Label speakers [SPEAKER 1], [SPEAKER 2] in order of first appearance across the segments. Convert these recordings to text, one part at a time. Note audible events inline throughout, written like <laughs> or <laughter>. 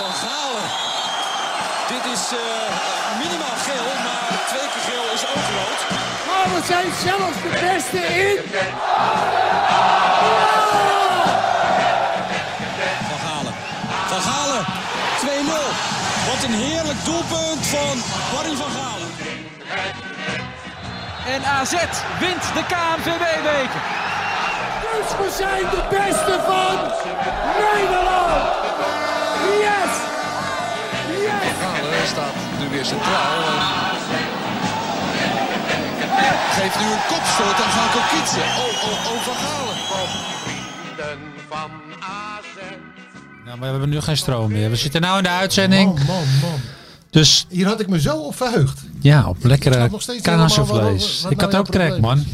[SPEAKER 1] Van Galen. Dit is eh, minimaal geel, maar twee keer geel is ook rood.
[SPEAKER 2] Maar Oh, we zijn zelf de beste in.
[SPEAKER 1] Van Galen. Van Galen, 2-0. Wat een heerlijk doelpunt van Barry van Galen.
[SPEAKER 3] En AZ wint de KNVB-week.
[SPEAKER 2] Dus we zijn de beste van Nederland. Yes! Yes!
[SPEAKER 4] Galen staat nu weer centraal. eh, En geeft nu een kopstoot aan Gaan Kokitsen. Oh, oh, oh, Van Galen.
[SPEAKER 5] van AZ.
[SPEAKER 6] Nou, maar we hebben nu geen stroom meer. We zitten nou in de uitzending.
[SPEAKER 7] Man, Oh, man, man.
[SPEAKER 6] Dus
[SPEAKER 7] Hier had ik me zo op verheugd.
[SPEAKER 6] ja, op lekkere
[SPEAKER 7] gaat nog steeds
[SPEAKER 6] Canaanse
[SPEAKER 7] helemaal waarover-
[SPEAKER 6] vlees.
[SPEAKER 7] wat
[SPEAKER 6] Ik
[SPEAKER 7] nou
[SPEAKER 6] had
[SPEAKER 7] jouw
[SPEAKER 6] ook crack,
[SPEAKER 7] probleem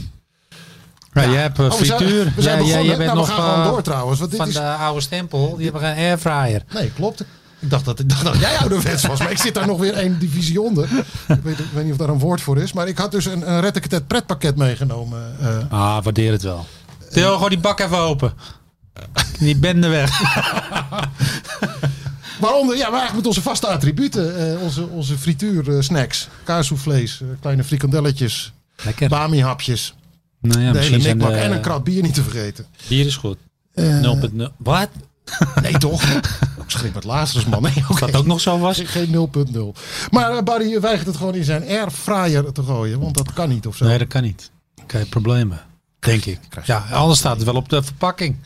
[SPEAKER 6] man. Ja, jij hebt eh,
[SPEAKER 7] Oh, we zijn-
[SPEAKER 6] frituur.
[SPEAKER 7] we zijn
[SPEAKER 6] Jij- jij,
[SPEAKER 7] begonnen.
[SPEAKER 6] jij bent
[SPEAKER 7] Nou, we
[SPEAKER 6] nog
[SPEAKER 7] gaan gewoon
[SPEAKER 6] eh,
[SPEAKER 7] door trouwens, want dit
[SPEAKER 6] van
[SPEAKER 7] is-
[SPEAKER 6] de oude stempel. Die hebben geen airfryer.
[SPEAKER 7] Nee, klopt. Ik dacht dat, ik dacht dat jij ouderwets was, maar ik zit daar nog weer één divisie onder. Ik weet, ik weet niet of daar een woord voor is, maar ik had dus een, een Reddeketet pretpakket meegenomen. eh.
[SPEAKER 6] Ah, waardeer het wel. Theo, gewoon die bak even open. Die bende weg.
[SPEAKER 7] waaronder, ja, maar eigenlijk met onze vaste attributen. eh, onze, onze frituursnacks, kaassoufflés, eh, kleine frikandelletjes,
[SPEAKER 6] Lekker.
[SPEAKER 7] bami-hapjes.
[SPEAKER 6] Nou ja,
[SPEAKER 7] de hele
[SPEAKER 6] misschien zijn
[SPEAKER 7] mikmak
[SPEAKER 6] de-
[SPEAKER 7] en een krat bier niet te vergeten.
[SPEAKER 6] Bier is goed.
[SPEAKER 7] Eh,
[SPEAKER 6] 0.0. Wat?
[SPEAKER 7] Nee,
[SPEAKER 6] <laughs>
[SPEAKER 7] toch? Ik schrik met Lazarus, man. Nee, oké.
[SPEAKER 6] Dat ook nog zo was?
[SPEAKER 7] Geen 0.0. Maar eh, Barry weigert het gewoon in zijn airfryer te gooien. Want dat kan niet of zo.
[SPEAKER 6] Nee, dat kan niet. Krijg je problemen. Denk ik.
[SPEAKER 7] Krijg je
[SPEAKER 6] Ja, anders staat het wel op de verpakking.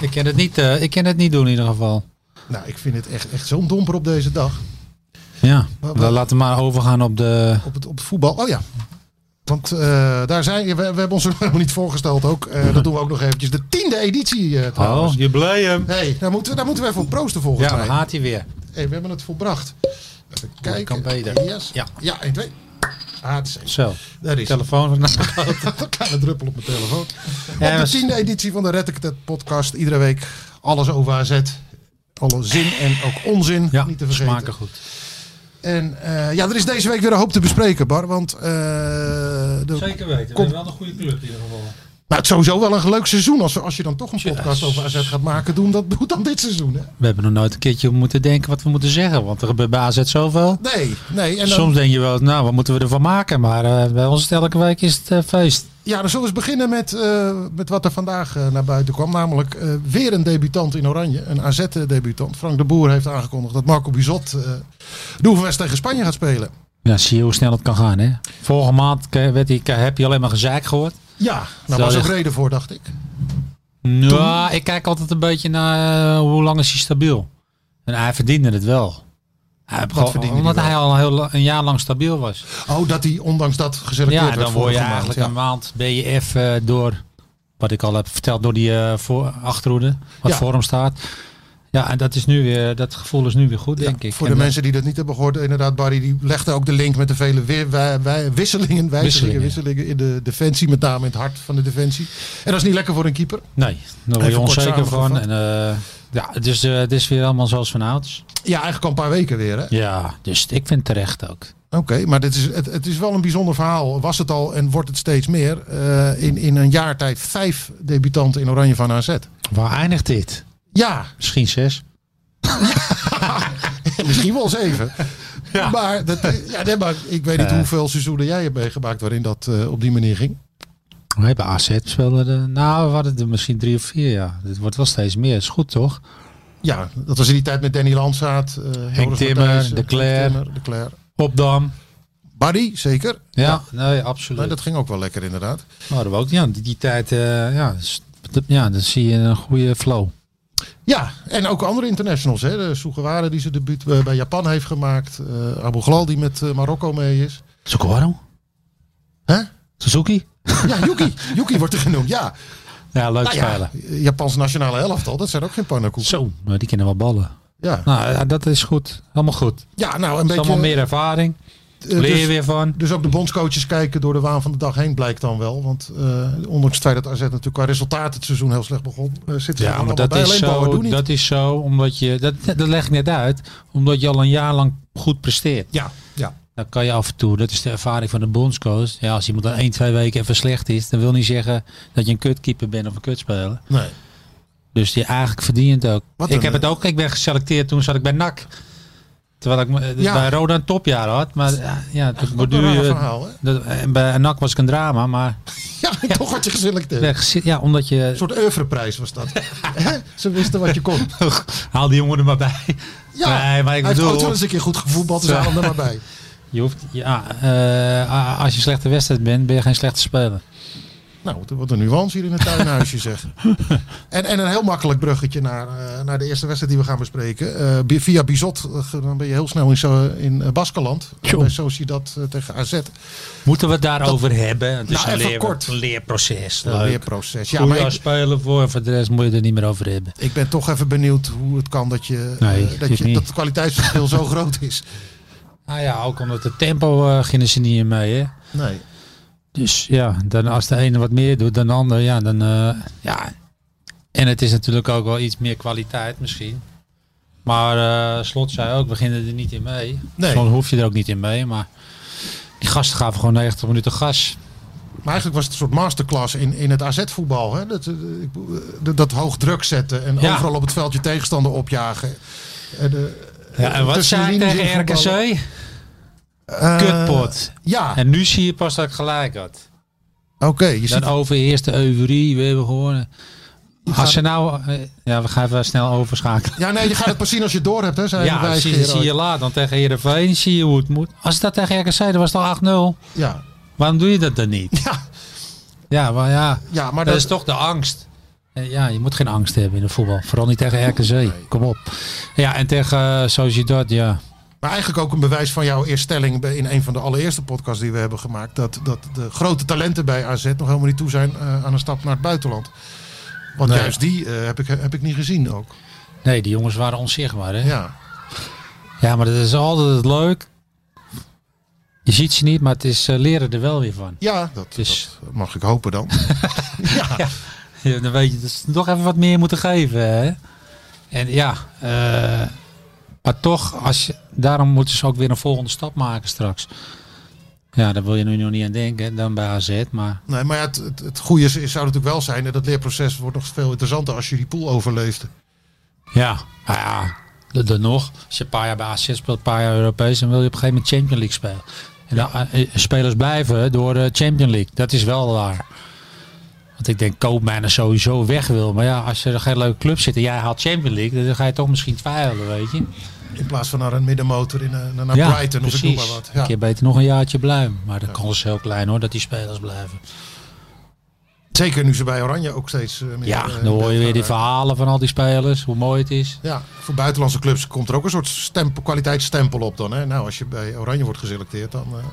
[SPEAKER 6] Ik ken het niet, eh, ik ken het niet doen in ieder geval.
[SPEAKER 7] Nou, ik vind het echt, echt zo'n domper op deze dag.
[SPEAKER 6] Ja,
[SPEAKER 7] Wa- wa-
[SPEAKER 6] we laten maar overgaan op de...
[SPEAKER 7] Op het, op het voetbal. Oh ja. Want eh, daar zijn, we, we hebben ons er <laughs> helemaal niet voorgesteld ook. Eh, dat doen we ook nog eventjes. De tiende editie eh, trouwens.
[SPEAKER 6] Oh, jubileum.
[SPEAKER 7] hey, daar, moeten we, daar moeten we even op proosten volgens
[SPEAKER 6] Ja, dan
[SPEAKER 7] mij.
[SPEAKER 6] haat hij weer.
[SPEAKER 7] Hey, we hebben het volbracht. Even kijken.
[SPEAKER 6] kan beter.
[SPEAKER 7] Yes. Ja.
[SPEAKER 6] Ja.
[SPEAKER 7] ja, 1, 2. Ah, het is één.
[SPEAKER 6] Zo,
[SPEAKER 7] Daar is het.
[SPEAKER 6] telefoon van...
[SPEAKER 7] Een <laughs> kleine druppel op mijn telefoon.
[SPEAKER 6] Ja,
[SPEAKER 7] op de
[SPEAKER 6] was-
[SPEAKER 7] tiende editie van de Red Ik Het podcast. Iedere week alles over AZ. Alle zin en ook onzin.
[SPEAKER 6] <laughs> Ja,
[SPEAKER 7] niet te vergeten.
[SPEAKER 6] smaken goed.
[SPEAKER 7] En eh, ja, er is deze week weer een hoop te bespreken, Bar. Want eh, de-
[SPEAKER 6] weten.
[SPEAKER 7] We hebben
[SPEAKER 6] wel een goede club in ieder geval.
[SPEAKER 7] nou, het is sowieso wel een leuk seizoen. Als, we- als je dan toch een podcast over AZ gaat maken, doen dat doe dan dit seizoen. Hè?
[SPEAKER 6] We hebben nog nooit een keertje moeten denken wat we moeten zeggen. Want er gebeurt bij AZ zoveel.
[SPEAKER 7] Nee, nee. En dan,
[SPEAKER 6] Soms denk je wel, nou, wat moeten we ervan maken? Maar eh, bij ons is het elke week is het eh, feest.
[SPEAKER 7] Ja, dan zullen we eens beginnen met, eh, met wat er vandaag eh, naar buiten kwam. Namelijk eh, weer een debutant in Oranje. Een AZ-debutant. Frank de Boer heeft aangekondigd dat Marco Bizot eh de oefenwedstrijd tegen Spanje gaat spelen.
[SPEAKER 6] Ja, zie je hoe snel het kan gaan, hè? Vorige maand ke- werd die, ke- heb je alleen maar gezeik gehoord.
[SPEAKER 7] Ja, daar
[SPEAKER 6] Zou
[SPEAKER 7] Nou, was ook
[SPEAKER 6] je-
[SPEAKER 7] reden voor, dacht ik.
[SPEAKER 6] Ja, Nou, ik kijk altijd een beetje naar eh, hoe lang is hij stabiel. En hij verdiende het wel. Hij heeft gewoon-
[SPEAKER 7] verdiende hij
[SPEAKER 6] omdat
[SPEAKER 7] wel?
[SPEAKER 6] hij al een, heel, la- een jaar lang stabiel was.
[SPEAKER 7] Oh, dat hij ondanks dat geselecteerd
[SPEAKER 6] Ja,
[SPEAKER 7] werd
[SPEAKER 6] dan word je
[SPEAKER 7] vorige maand,
[SPEAKER 6] eigenlijk
[SPEAKER 7] ja.
[SPEAKER 6] een maand ben je even eh, door, wat ik al heb verteld, door die eh, voor, achterhoede, wat
[SPEAKER 7] Ja.
[SPEAKER 6] voor hem staat. Ja, en dat, is nu weer, dat gevoel is nu weer goed,
[SPEAKER 7] Ja,
[SPEAKER 6] denk ik.
[SPEAKER 7] Voor
[SPEAKER 6] En
[SPEAKER 7] de
[SPEAKER 6] eh, dan-
[SPEAKER 7] mensen die dat niet hebben gehoord, inderdaad, Barry die legde ook de link met de vele wi- wij- wij- wisselingen, wijzigingen,
[SPEAKER 6] Wisselingen.
[SPEAKER 7] wisselingen in de defensie, met name in het hart van de defensie. En dat is niet lekker voor een keeper.
[SPEAKER 6] Nee, daar word je
[SPEAKER 7] Even kort
[SPEAKER 6] onzeker van.
[SPEAKER 7] samengevat.
[SPEAKER 6] En, eh, ja, het is, eh, het is weer allemaal zoals vanouds.
[SPEAKER 7] Ja, eigenlijk al een paar weken weer. hè?
[SPEAKER 6] Ja, dus ik vind terecht ook.
[SPEAKER 7] Oké, maar dit is, het, het is wel een bijzonder verhaal. Was het al en wordt het steeds meer. Eh, in, in een jaar tijd vijf debutanten in Oranje van AZ.
[SPEAKER 6] Waar eindigt dit?
[SPEAKER 7] Ja, <laughs>
[SPEAKER 6] Misschien zes.
[SPEAKER 7] misschien wel zeven.
[SPEAKER 6] Ja.
[SPEAKER 7] Maar, dat, eh, ja, nee, maar ik weet niet
[SPEAKER 6] Eh.
[SPEAKER 7] hoeveel seizoenen jij hebt meegemaakt waarin dat eh, op die manier ging.
[SPEAKER 6] We hebben AZ speelde de, nou, we hadden er misschien drie of vier, ja. Dit wordt wel steeds meer, is goed toch?
[SPEAKER 7] Ja, dat was in die tijd met Danny Landsaat, eh Joris
[SPEAKER 6] Timmer,
[SPEAKER 7] Matthijssen,
[SPEAKER 6] De
[SPEAKER 7] Henk
[SPEAKER 6] Cler.
[SPEAKER 7] Timmer, de Cler.
[SPEAKER 6] Opdam.
[SPEAKER 7] Barry, zeker.
[SPEAKER 6] Ja, nee, absoluut.
[SPEAKER 7] Nee, dat ging ook wel lekker inderdaad.
[SPEAKER 6] hadden we ook, ja, die, die tijd, eh, ja, s- dat- ja, dan zie je een goede flow.
[SPEAKER 7] Ja, en ook andere internationals. Hè. De Sugawara die zijn debuut eh, bij Japan heeft gemaakt. eh Abu Ghlal die met eh, Marokko mee is.
[SPEAKER 6] Socorro?
[SPEAKER 7] Hè?
[SPEAKER 6] Suzuki?
[SPEAKER 7] <laughs> Ja, Yuki. Yuki wordt er genoemd, ja.
[SPEAKER 6] Ja, leuk
[SPEAKER 7] Nou ja,
[SPEAKER 6] spelen.
[SPEAKER 7] Japans nationale elftal, dat zijn ook geen pannenkoeken.
[SPEAKER 6] Zo, maar die kennen wel ballen.
[SPEAKER 7] Ja.
[SPEAKER 6] Nou, ja, dat is goed. Allemaal goed. Het
[SPEAKER 7] ja, nou een
[SPEAKER 6] is
[SPEAKER 7] beetje...
[SPEAKER 6] allemaal meer ervaring.
[SPEAKER 7] eh,
[SPEAKER 6] Leer je
[SPEAKER 7] dus,
[SPEAKER 6] weer van.
[SPEAKER 7] dus ook de bondscoaches kijken door de waan van de dag heen blijkt dan wel. Want eh, ondanks het feit dat AZ natuurlijk qua resultaat het seizoen heel slecht begon, eh, zitten ze er
[SPEAKER 6] Ja, maar
[SPEAKER 7] allemaal
[SPEAKER 6] dat
[SPEAKER 7] bij.
[SPEAKER 6] is,
[SPEAKER 7] Alleen Boer
[SPEAKER 6] zo,
[SPEAKER 7] doet niet.
[SPEAKER 6] dat is zo, omdat je, dat, dat leg ik net uit, omdat je al een jaar lang goed presteert.
[SPEAKER 7] Ja, ja.
[SPEAKER 6] Dan kan je af en toe, dat is de ervaring van de bondscoach. Ja, als iemand dan 1, 2 weken even slecht is, dan wil niet zeggen dat je een kutkeeper bent of een kutspeler.
[SPEAKER 7] Nee.
[SPEAKER 6] Dus die eigenlijk verdient ook.
[SPEAKER 7] Wat
[SPEAKER 6] ik
[SPEAKER 7] een,
[SPEAKER 6] heb het
[SPEAKER 7] eh,
[SPEAKER 6] ook. Ik ben geselecteerd toen zat ik bij NAC. Terwijl ik me- dus
[SPEAKER 7] Ja.
[SPEAKER 6] bij Roda een topjaar had. Maar eh, ja, dat
[SPEAKER 7] Wat een raar
[SPEAKER 6] Borduur,
[SPEAKER 7] verhaal, hè? <laughs>
[SPEAKER 6] dat- en bij NAC was ik een drama. Maar
[SPEAKER 7] Ja, en toch had je geselecteerd.
[SPEAKER 6] ja, gese- ja, omdat je...
[SPEAKER 7] Een soort oeuvreprijs was dat. Hè? Ze wisten wat je kon.
[SPEAKER 6] <laughs> Haal die jongen er maar bij.
[SPEAKER 7] Ja,
[SPEAKER 6] Nee, maar ik
[SPEAKER 7] hij heeft
[SPEAKER 6] bedoel-
[SPEAKER 7] ooit wel eens een keer goed gevoetbald, dus
[SPEAKER 6] Ja.
[SPEAKER 7] haal hem er maar bij.
[SPEAKER 6] Je hoeft, ja, eh, a- als je een slechte wedstrijd bent, ben je geen slechte speler.
[SPEAKER 7] Nou, wat een- wat een nuance hier in het tuinhuisje <laughs> zeg. En, en een heel makkelijk bruggetje naar, eh, naar de eerste wedstrijd die we gaan bespreken. Eh, bi- via Bizot, eh, ge- dan ben je heel snel in, zo, in eh, Baskeland.
[SPEAKER 6] <laughs> Tjoh.
[SPEAKER 7] Bij Sociedad eh, tegen AZ.
[SPEAKER 6] Moeten we het daarover hebben? Het is
[SPEAKER 7] Nou,
[SPEAKER 6] een,
[SPEAKER 7] even
[SPEAKER 6] leer-
[SPEAKER 7] kort.
[SPEAKER 6] een leerproces.
[SPEAKER 7] Een
[SPEAKER 6] Leuk.
[SPEAKER 7] leerproces. Ja,
[SPEAKER 6] Ja, maar
[SPEAKER 7] maar
[SPEAKER 6] als
[SPEAKER 7] ik,
[SPEAKER 6] speler voor, voor de rest moet je er niet meer over hebben.
[SPEAKER 7] ik ben toch even benieuwd hoe het kan dat, je, eh,
[SPEAKER 6] Nee,
[SPEAKER 7] dat,
[SPEAKER 6] dit
[SPEAKER 7] je,
[SPEAKER 6] niet.
[SPEAKER 7] dat het kwaliteitsverschil
[SPEAKER 6] <laughs>
[SPEAKER 7] zo groot is.
[SPEAKER 6] Nou ja, ook omdat het tempo eh gingen ze niet in mee. Hè?
[SPEAKER 7] Nee.
[SPEAKER 6] Dus ja, dan als de ene wat meer doet dan de ander, ja, dan eh, ja. En het is natuurlijk ook wel iets meer kwaliteit misschien. Maar eh, Slot zei ook, we beginnen er niet in mee.
[SPEAKER 7] Nee.
[SPEAKER 6] Soms hoef je er ook niet in mee, maar die gasten gaven gewoon 90 minuten gas.
[SPEAKER 7] Maar eigenlijk was het een soort masterclass in, in het AZ-voetbal. Hè? Dat, eh, ik bedoel, eh, dat, dat hoog druk zetten en
[SPEAKER 6] Ja.
[SPEAKER 7] overal op het veld je tegenstander opjagen. En, de,
[SPEAKER 6] Ja, en wat
[SPEAKER 7] tussen de
[SPEAKER 6] zei ik
[SPEAKER 7] linies
[SPEAKER 6] tegen
[SPEAKER 7] invoetballen.
[SPEAKER 6] RKC?
[SPEAKER 7] Eh,
[SPEAKER 6] Kutpot.
[SPEAKER 7] Ja,
[SPEAKER 6] En nu zie je pas dat ik gelijk had.
[SPEAKER 7] oké. je ziet
[SPEAKER 6] Dan overheerst de euforie, we hebben gewoon... Als ze nou... eh, Ja, we gaan even snel overschakelen.
[SPEAKER 7] Ja, nee, je gaat het pas zien als je het door hebt, hè? Zei
[SPEAKER 6] Ja,
[SPEAKER 7] wij
[SPEAKER 6] zie,
[SPEAKER 7] Gerard.
[SPEAKER 6] zie je laat. Dan tegen Heerenveen zie je hoe het moet. Als dat tegen RKC, dan was het al 8-0.
[SPEAKER 7] Ja.
[SPEAKER 6] Waarom doe je dat dan niet?
[SPEAKER 7] Ja,
[SPEAKER 6] Ja, maar ja.
[SPEAKER 7] ja, maar
[SPEAKER 6] Dat,
[SPEAKER 7] dat,
[SPEAKER 6] is toch de angst. Eh, Ja, je moet geen angst hebben in de voetbal. Vooral niet tegen RKC. Kom op. Ja, en tegen eh, Sociedad, ja.
[SPEAKER 7] Maar eigenlijk ook een bewijs van jouw eerstelling bij- in een van de allereerste podcasts die we hebben gemaakt. Dat, dat de grote talenten bij AZ nog helemaal niet toe zijn eh, aan een stap naar het buitenland. Want
[SPEAKER 6] Nee.
[SPEAKER 7] juist die eh, heb, ik, heb ik niet gezien ook.
[SPEAKER 6] Nee, die jongens waren onzichtbaar, hè?
[SPEAKER 7] Ja.
[SPEAKER 6] Ja, maar dat is altijd het leuk. Je ziet ze niet, maar het is eh, leren er wel weer van.
[SPEAKER 7] Ja, dat,
[SPEAKER 6] Dus-
[SPEAKER 7] dat mag ik hopen dan. ja.
[SPEAKER 6] Ja, dan weet je dat ze nog even wat meer moeten geven. Hè? En ja, eh, maar toch, als je, daarom moeten ze ook weer een volgende stap maken straks. Ja, daar wil je nu nog niet aan denken, hè, dan bij AZ. Maar
[SPEAKER 7] Nee, maar ja, het, het, het goede is, zou natuurlijk wel zijn, en dat leerproces wordt nog veel interessanter als je die pool overleeft.
[SPEAKER 6] ja, nou ja, d- dan nog. Als je een paar jaar bij AZ speelt, een paar jaar Europees, dan wil je op een gegeven moment Champions League spelen. En dan, eh, eh, spelers blijven door de Champions League. Dat is wel waar. Want ik denk Koopman er sowieso weg wil. Maar ja, als er geen leuke club zit en jij haalt Champions League, dan ga je toch misschien twijfelen, weet je.
[SPEAKER 7] In plaats van naar een middenmotor in, eh, naar, naar Brighton of ik noem maar wat.
[SPEAKER 6] Een keer beter nog een jaartje blijven. Maar de kans is heel klein hoor, dat die spelers blijven.
[SPEAKER 7] Zeker nu ze bij Oranje ook steeds eh, meer.
[SPEAKER 6] Ja,
[SPEAKER 7] eh,
[SPEAKER 6] dan hoor je weer die
[SPEAKER 7] gaan,
[SPEAKER 6] verhalen van al die spelers, hoe mooi het is.
[SPEAKER 7] eh, Ja, voor buitenlandse clubs komt er ook een soort stempel, kwaliteitsstempel op dan. Hè? Nou, als je bij Oranje wordt geselecteerd dan. eh,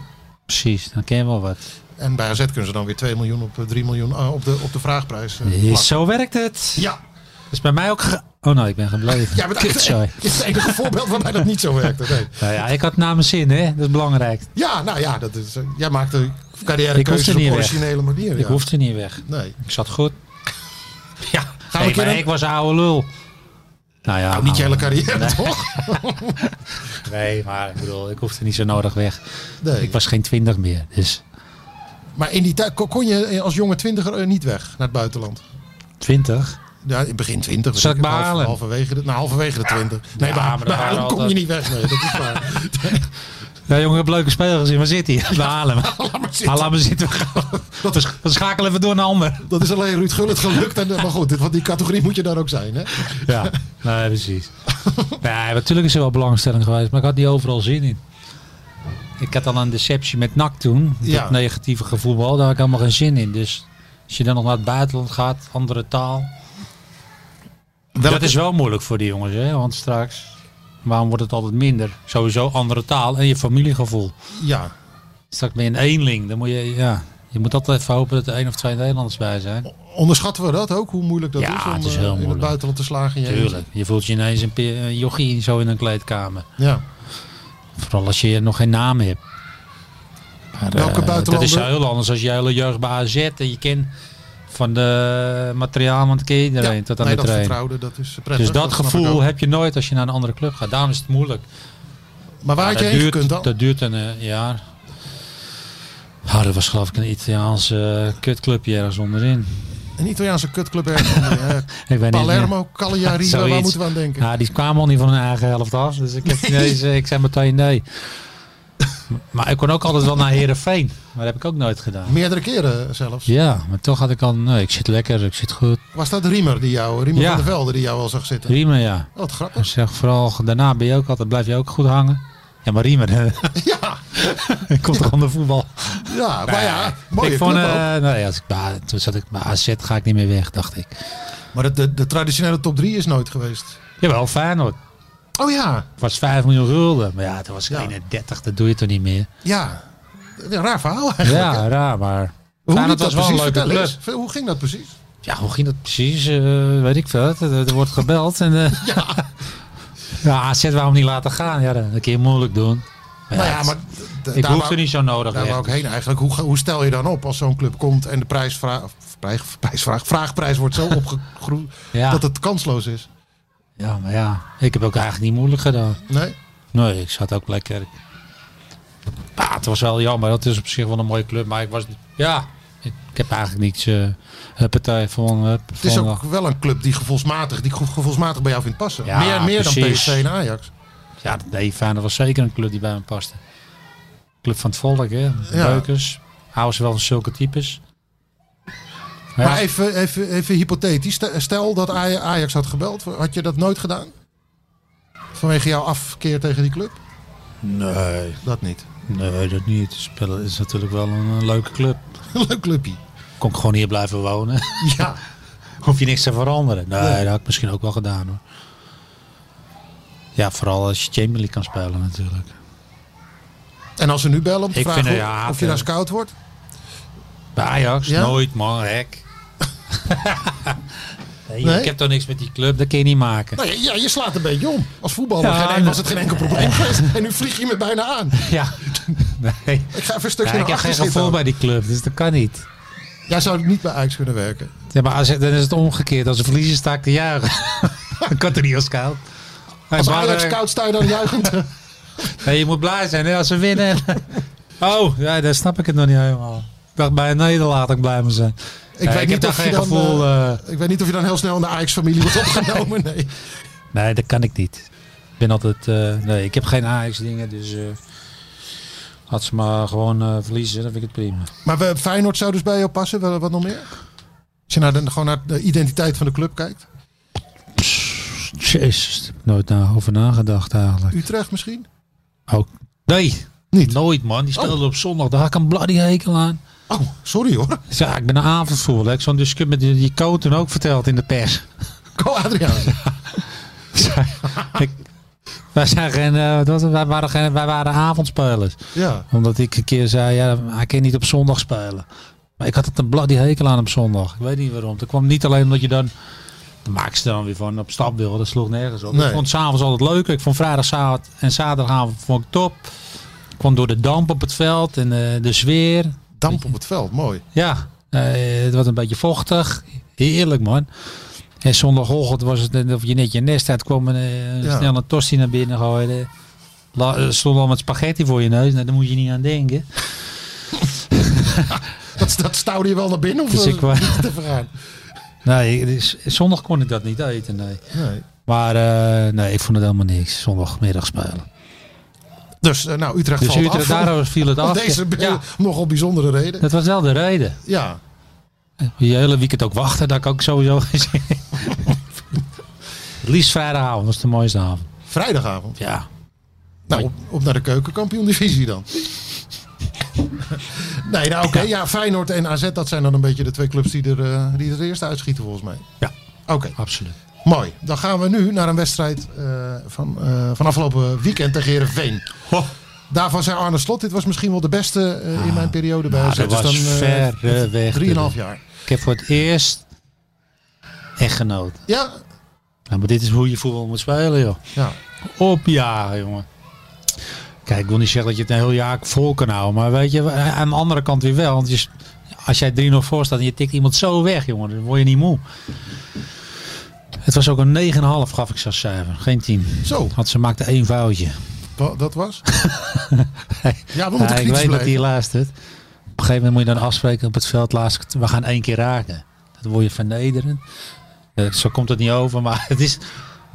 [SPEAKER 6] Precies, dan ken je wel wat.
[SPEAKER 7] en bij AZ kunnen ze dan weer 2 miljoen op eh, 3 miljoen ah, op, de, op de vraagprijs. eh, plakken.
[SPEAKER 6] Zo werkt het.
[SPEAKER 7] Ja,
[SPEAKER 6] Dat is bij mij ook... ge- Oh nee, ik ben gebleven.
[SPEAKER 7] ja maar dat
[SPEAKER 6] Kut, sorry.
[SPEAKER 7] dit is het enige voorbeeld waarbij dat niet zo werkt. Nee.
[SPEAKER 6] Nou ja, ik had na mijn zin, hè. Dat is belangrijk.
[SPEAKER 7] Ja, nou ja, dat is, eh, jij maakt de
[SPEAKER 6] Ik hoef
[SPEAKER 7] carrièrekeuzes
[SPEAKER 6] er
[SPEAKER 7] op
[SPEAKER 6] niet
[SPEAKER 7] een
[SPEAKER 6] weg.
[SPEAKER 7] originele manier.
[SPEAKER 6] Ik
[SPEAKER 7] ja.
[SPEAKER 6] hoefde niet weg.
[SPEAKER 7] Nee.
[SPEAKER 6] Ik zat goed. Ja,
[SPEAKER 7] we
[SPEAKER 6] nee, maar
[SPEAKER 7] kennen-
[SPEAKER 6] ik was oude lul. Nou ja,
[SPEAKER 7] Nou, niet je hele
[SPEAKER 6] oude-
[SPEAKER 7] carrière, toch?
[SPEAKER 6] Nee, maar ik bedoel, ik hoefde niet zo nodig weg.
[SPEAKER 7] Nee.
[SPEAKER 6] Ik was geen twintig meer, dus...
[SPEAKER 7] Maar in die tijd kon- kon je eh, als jonge twintiger eh, niet weg naar het buitenland.
[SPEAKER 6] Twintig?
[SPEAKER 7] Ja, in begin 20. dus
[SPEAKER 6] Zal ik
[SPEAKER 7] half-
[SPEAKER 6] bij Haarlem?
[SPEAKER 7] halverwege de, nou, halverwege de 20. Nee,
[SPEAKER 6] Ja,
[SPEAKER 7] maar,
[SPEAKER 6] maar
[SPEAKER 7] bij
[SPEAKER 6] daar
[SPEAKER 7] Haarlem
[SPEAKER 6] waren
[SPEAKER 7] kom je
[SPEAKER 6] altijd-
[SPEAKER 7] niet weg. Nee, dat is waar.
[SPEAKER 6] <laughs> Ja, jongen, ik heb leuke spelers gezien. Waar zit hij? Bij Haarlem.
[SPEAKER 7] <laughs> Laat maar zitten.
[SPEAKER 6] Haarlem zitten. We gaan-
[SPEAKER 7] Dat is,
[SPEAKER 6] We schakelen even door naar ander.
[SPEAKER 7] dat is alleen Ruud Gullit gelukt. En, eh, maar goed, dit, want die categorie moet je daar ook zijn. Hè?
[SPEAKER 6] Ja, nee, precies. Nee, natuurlijk is er wel belangstelling geweest, maar ik had niet overal zin in. Ik had al een deceptie met NAC toen. Dat
[SPEAKER 7] Ja.
[SPEAKER 6] negatieve gevoetbal, daar had ik helemaal geen zin in. Dus als je dan nog naar het buitenland gaat, andere taal. Dat is wel moeilijk voor die jongens, hè? want straks, waarom wordt het altijd minder? Sowieso andere taal en je familiegevoel.
[SPEAKER 7] Ja,
[SPEAKER 6] Straks ben je een eenling. Dan moet je, ja, je moet altijd even hopen dat er één of twee Nederlanders bij zijn.
[SPEAKER 7] onderschatten we dat ook? Hoe moeilijk dat
[SPEAKER 6] Ja,
[SPEAKER 7] is om
[SPEAKER 6] het is
[SPEAKER 7] eh,
[SPEAKER 6] heel
[SPEAKER 7] in het
[SPEAKER 6] moeilijk.
[SPEAKER 7] buitenland te slagen. in je
[SPEAKER 6] Tuurlijk. Je voelt je ineens een pe- een jochie zo in een kleedkamer.
[SPEAKER 7] eentje? Ja.
[SPEAKER 6] Vooral als je nog geen naam hebt. Maar,
[SPEAKER 7] Welke
[SPEAKER 6] eh, Dat is
[SPEAKER 7] buitenlander?
[SPEAKER 6] heel anders als je hele jeugd bij AZ en je kent van de materiaal, want ken je iedereen
[SPEAKER 7] ja.
[SPEAKER 6] eh, tot aan
[SPEAKER 7] nee,
[SPEAKER 6] de
[SPEAKER 7] dat
[SPEAKER 6] trainer.
[SPEAKER 7] vertrouwde, dat is eh, prettig.
[SPEAKER 6] Dus dat,
[SPEAKER 7] snap ik ook.
[SPEAKER 6] gevoel heb je nooit als je naar een andere club gaat. Daarom is het moeilijk.
[SPEAKER 7] Maar waar had je
[SPEAKER 6] dat,
[SPEAKER 7] heen
[SPEAKER 6] duurt,
[SPEAKER 7] gekund dan?
[SPEAKER 6] dat duurt een eh, jaar. Ah, dat was geloof ik een Italiaans eh, kutclubje ergens onderin.
[SPEAKER 7] Een Italiaanse kutclub ergens.
[SPEAKER 6] <laughs>
[SPEAKER 7] eh,
[SPEAKER 6] Ik weet niet.
[SPEAKER 7] Palermo, Cagliari, waar- waar
[SPEAKER 6] Zoiets.
[SPEAKER 7] moeten we aan denken?
[SPEAKER 6] Ja, die kwamen al niet van hun eigen helft af. Dus
[SPEAKER 7] <laughs>
[SPEAKER 6] ik, heb ineens, eh, ik zei meteen nee. Maar ik kon ook altijd wel naar Herenveen. Maar dat heb ik ook nooit gedaan.
[SPEAKER 7] Meerdere keren zelfs.
[SPEAKER 6] Ja, maar toch had ik al, nee, ik zit lekker, ik zit goed.
[SPEAKER 7] Was dat Riemer, die jou, Riemer
[SPEAKER 6] Ja.
[SPEAKER 7] van der Velde, die jou al zag zitten?
[SPEAKER 6] Riemen, ja.
[SPEAKER 7] Oh, wat grappig.
[SPEAKER 6] Ik zeg vooral, daarna ben je ook altijd, blijf je ook goed hangen. <laughs> Ja, maar Riemen, eh,
[SPEAKER 7] Ja,
[SPEAKER 6] komt toch onder voetbal.
[SPEAKER 7] ja maar ja, mooie
[SPEAKER 6] ik vond,
[SPEAKER 7] club ook.
[SPEAKER 6] eh, nee, als ik, bij- toen zat ik bij AZ, ga ik niet meer weg, dacht ik.
[SPEAKER 7] Maar de, de, de traditionele top 3 is nooit geweest.
[SPEAKER 6] Jawel, Feyenoord.
[SPEAKER 7] Oh ja,
[SPEAKER 6] Het was 5 miljoen gulden. Maar ja, toen was ik
[SPEAKER 7] Ja.
[SPEAKER 6] 31, dat doe je toch niet meer.
[SPEAKER 7] ja. Ja, raar verhaal eigenlijk.
[SPEAKER 6] Ja, raar, maar...
[SPEAKER 7] Hoe liep
[SPEAKER 6] Feyenoord was wel een
[SPEAKER 7] precies?
[SPEAKER 6] leuke
[SPEAKER 7] Vertel
[SPEAKER 6] club.
[SPEAKER 7] eens. Hoe ging dat precies?
[SPEAKER 6] Ja, hoe ging dat precies? Eh, weet ik veel. Er, er wordt gebeld. En,
[SPEAKER 7] <laughs>
[SPEAKER 6] eh, ja. <laughs> AZ waarom niet laten gaan? Ja, dat dat kun je moeilijk doen. Maar
[SPEAKER 7] nou ja,
[SPEAKER 6] het-
[SPEAKER 7] maar d- d-
[SPEAKER 6] ik
[SPEAKER 7] daar
[SPEAKER 6] hoefde
[SPEAKER 7] wou-
[SPEAKER 6] niet zo nodig.
[SPEAKER 7] Daar
[SPEAKER 6] weg.
[SPEAKER 7] wou ik heen eigenlijk. Hoe, ga- hoe stel je dan op als zo'n club komt en de prijsvraag, of prij- prijsvraag, vraagprijs wordt
[SPEAKER 6] <laughs>
[SPEAKER 7] zo opgegroeid
[SPEAKER 6] Ja.
[SPEAKER 7] dat het kansloos is?
[SPEAKER 6] Ja, maar ja. Ik heb ook eigenlijk niet moeilijk gedaan.
[SPEAKER 7] Nee?
[SPEAKER 6] Nee, ik zat ook lekker. Ja, het was wel jammer. Dat is op zich wel een mooie club. Maar ik was... Ja, ik, ik heb eigenlijk niets... eh partij van... eh,
[SPEAKER 7] Het is
[SPEAKER 6] van-
[SPEAKER 7] ook wel een club die gevoelsmatig, die ge- gevoelsmatig bij jou vindt passen.
[SPEAKER 6] Ja,
[SPEAKER 7] meer meer dan
[SPEAKER 6] precies.
[SPEAKER 7] PSV en Ajax.
[SPEAKER 6] Ja, nee, Feyenoord was zeker een club die bij me paste. Club van het volk, hè. Beukers. Houden ze wel van zulke types. Maar ja,
[SPEAKER 7] Maar even, even, even hypothetisch. Stel- Stel dat Aj- Ajax had gebeld. Had je dat nooit gedaan? Vanwege jouw afkeer tegen die club?
[SPEAKER 6] Nee,
[SPEAKER 7] Dat niet.
[SPEAKER 6] nee, dat niet. Spelen is natuurlijk wel een, eh, leuke club.
[SPEAKER 7] <laughs> Leuk clubje.
[SPEAKER 6] Kon ik gewoon hier blijven wonen.
[SPEAKER 7] Ja.
[SPEAKER 6] <laughs> Hoef je niks te veranderen. Nee, dat had ik misschien ook wel gedaan hoor. Ja, vooral als je Champions League kan spelen natuurlijk.
[SPEAKER 7] En als ze nu bellen om te
[SPEAKER 6] Ik
[SPEAKER 7] vragen
[SPEAKER 6] vind het-
[SPEAKER 7] of-
[SPEAKER 6] ja,
[SPEAKER 7] of je
[SPEAKER 6] vind-
[SPEAKER 7] daar scout wordt?
[SPEAKER 6] Bij Ajax?
[SPEAKER 7] Ja?
[SPEAKER 6] Nooit man, <laughs> hek. nee,
[SPEAKER 7] Nee?
[SPEAKER 6] Ik heb toch niks met die club, dat kun je niet maken.
[SPEAKER 7] Nou ja, ja, je slaat een beetje om. Als voetballer
[SPEAKER 6] Ja,
[SPEAKER 7] geen en-
[SPEAKER 6] nee.
[SPEAKER 7] was het geen enkel probleem geweest. En nu vlieg je me bijna aan.
[SPEAKER 6] Ja, <laughs> nee.
[SPEAKER 7] Ik ga even een stukje
[SPEAKER 6] Ja, ik
[SPEAKER 7] naar
[SPEAKER 6] heb geen
[SPEAKER 7] achter zitten.
[SPEAKER 6] gevoel bij die club, dus dat kan niet.
[SPEAKER 7] Jij zou niet bij Ajax kunnen werken.
[SPEAKER 6] Ja, maar als, dan is het omgekeerd. Als ze verliezen sta ik te juichen. <laughs> Dan kan er niet als koud.
[SPEAKER 7] Als Ajax scout sta je dan
[SPEAKER 6] <laughs>
[SPEAKER 7] juichend.
[SPEAKER 6] nee, je moet blij zijn hè, als ze winnen. <laughs> oh, ja, daar snap ik het nog niet helemaal. Ik dacht bij een nederlaag dat ik blij moet zijn.
[SPEAKER 7] Ik
[SPEAKER 6] Nee,
[SPEAKER 7] weet
[SPEAKER 6] ik
[SPEAKER 7] niet
[SPEAKER 6] heb daar
[SPEAKER 7] of je
[SPEAKER 6] geen
[SPEAKER 7] dan,
[SPEAKER 6] gevoel. eh,
[SPEAKER 7] Ik weet niet of je dan heel snel in de Ajax-familie wordt opgenomen. Nee.
[SPEAKER 6] nee, dat kan ik niet. Ik ben altijd... eh, nee, ik heb geen Ajax-dingen, dus... eh had ze maar gewoon eh, verliezen, dan vind ik het prima.
[SPEAKER 7] Maar we, Feyenoord zou dus bij jou passen. Wel- Wat nog meer? Als je naar de, gewoon naar de identiteit van de club kijkt.
[SPEAKER 6] Jezus, daar heb ik nooit na, over nagedacht eigenlijk.
[SPEAKER 7] Utrecht misschien?
[SPEAKER 6] Ook. Oh, Nee.
[SPEAKER 7] Niet?
[SPEAKER 6] Nooit, man. Die speelde op zondag. Daar had ik een bloody hekel aan.
[SPEAKER 7] Oh, sorry hoor.
[SPEAKER 6] Ja, ah, ik ben een avondvoer. Heb ik zo'n discussie met die, die coach toen ook verteld in de pers.
[SPEAKER 7] <laughs>
[SPEAKER 6] <laughs>
[SPEAKER 7] Go Adriaan.
[SPEAKER 6] ik, wij, zijn geen, eh, wat was het? wij, waren geen, wij waren avondspelers.
[SPEAKER 7] Ja.
[SPEAKER 6] Omdat ik een keer zei, ja, hij kan niet op zondag spelen. Maar ik had het een bloody hekel aan op zondag. Ik weet niet waarom. Dat kwam niet alleen omdat je dan... Dan maak ze dan weer van op stap wil. Dat sloeg nergens op.
[SPEAKER 7] Nee.
[SPEAKER 6] Ik vond s'avonds altijd leuk. Ik vond vrijdag zaterdag en zaterdagavond vond ik top. Ik kwam door de damp op het veld en eh, de sfeer.
[SPEAKER 7] Damp op het veld, mooi.
[SPEAKER 6] Ja, eh, het was een beetje vochtig. Heerlijk man. En zondagochtend was het net of je net je nest uitkwam en eh,
[SPEAKER 7] Ja.
[SPEAKER 6] snel een tosti naar binnen gooide. La, er stond al met spaghetti voor je neus, nou, daar moet je niet aan denken.
[SPEAKER 7] Dat, dat stouwde je wel naar binnen of
[SPEAKER 6] Dus
[SPEAKER 7] eh,
[SPEAKER 6] ik wa-
[SPEAKER 7] niet te vergaan?
[SPEAKER 6] Nee, dus zondag kon ik dat niet eten, nee.
[SPEAKER 7] Nee.
[SPEAKER 6] Maar eh, nee, ik vond het helemaal niks, zondagmiddag spelen.
[SPEAKER 7] Dus eh, nou, Utrecht
[SPEAKER 6] Dus
[SPEAKER 7] valt
[SPEAKER 6] Utrecht,
[SPEAKER 7] af.
[SPEAKER 6] daardoor
[SPEAKER 7] <laughs>
[SPEAKER 6] viel het
[SPEAKER 7] Om
[SPEAKER 6] af.
[SPEAKER 7] deze
[SPEAKER 6] ja,
[SPEAKER 7] nogal bijzondere reden.
[SPEAKER 6] dat was wel de reden.
[SPEAKER 7] Ja.
[SPEAKER 6] Je hele weekend ook wachten, dat ik ook sowieso <laughs> gezien. Het liefst vrijdagavond, dat was de mooiste avond.
[SPEAKER 7] Vrijdagavond.
[SPEAKER 6] Ja,
[SPEAKER 7] Nou, op, op naar de keukenkampioen-divisie dan. <laughs> nee, nou oké. Ja, Feyenoord en AZ, dat zijn dan een beetje de twee clubs die er, eh, die er eerst uitschieten volgens mij.
[SPEAKER 6] Ja.
[SPEAKER 7] Oké,
[SPEAKER 6] absoluut.
[SPEAKER 7] mooi. Dan gaan we nu naar een wedstrijd eh, van, eh, van afgelopen weekend tegen Heerenveen. Daarvan zei Arne Slot, dit was misschien wel de beste eh, in mijn periode bij
[SPEAKER 6] Nou,
[SPEAKER 7] AZ.
[SPEAKER 6] dat
[SPEAKER 7] Dus
[SPEAKER 6] was
[SPEAKER 7] dan, eh,
[SPEAKER 6] verreweg.
[SPEAKER 7] Drieënhalf jaar.
[SPEAKER 6] Ik heb voor het eerst echt genoten.
[SPEAKER 7] Ja,
[SPEAKER 6] Nou, maar dit is hoe je voetbal moet spelen, joh.
[SPEAKER 7] ja.
[SPEAKER 6] Opjagen, jongen. Kijk, ik wil niet zeggen dat je het een heel jaar vol kan houden. Maar weet je, eh, aan de andere kant weer wel. Want je, als jij 3-0 voor staat en je tikt iemand zo weg, jongen, dan word je niet moe. Het was ook een 9,5 gaf ik ze als cijfer. Geen 10.
[SPEAKER 7] zo.
[SPEAKER 6] Want ze maakte één foutje.
[SPEAKER 7] wa- Dat
[SPEAKER 6] <laughs>
[SPEAKER 7] was. ja, we moeten
[SPEAKER 6] Ja, ik
[SPEAKER 7] kritisch
[SPEAKER 6] weet dat hij
[SPEAKER 7] blijven.
[SPEAKER 6] luistert. Op een gegeven moment moet je dan afspreken op het veld. Laatst, we gaan één keer raken. Dan word je vernederen. Eh, zo komt het niet over, maar <laughs> het is,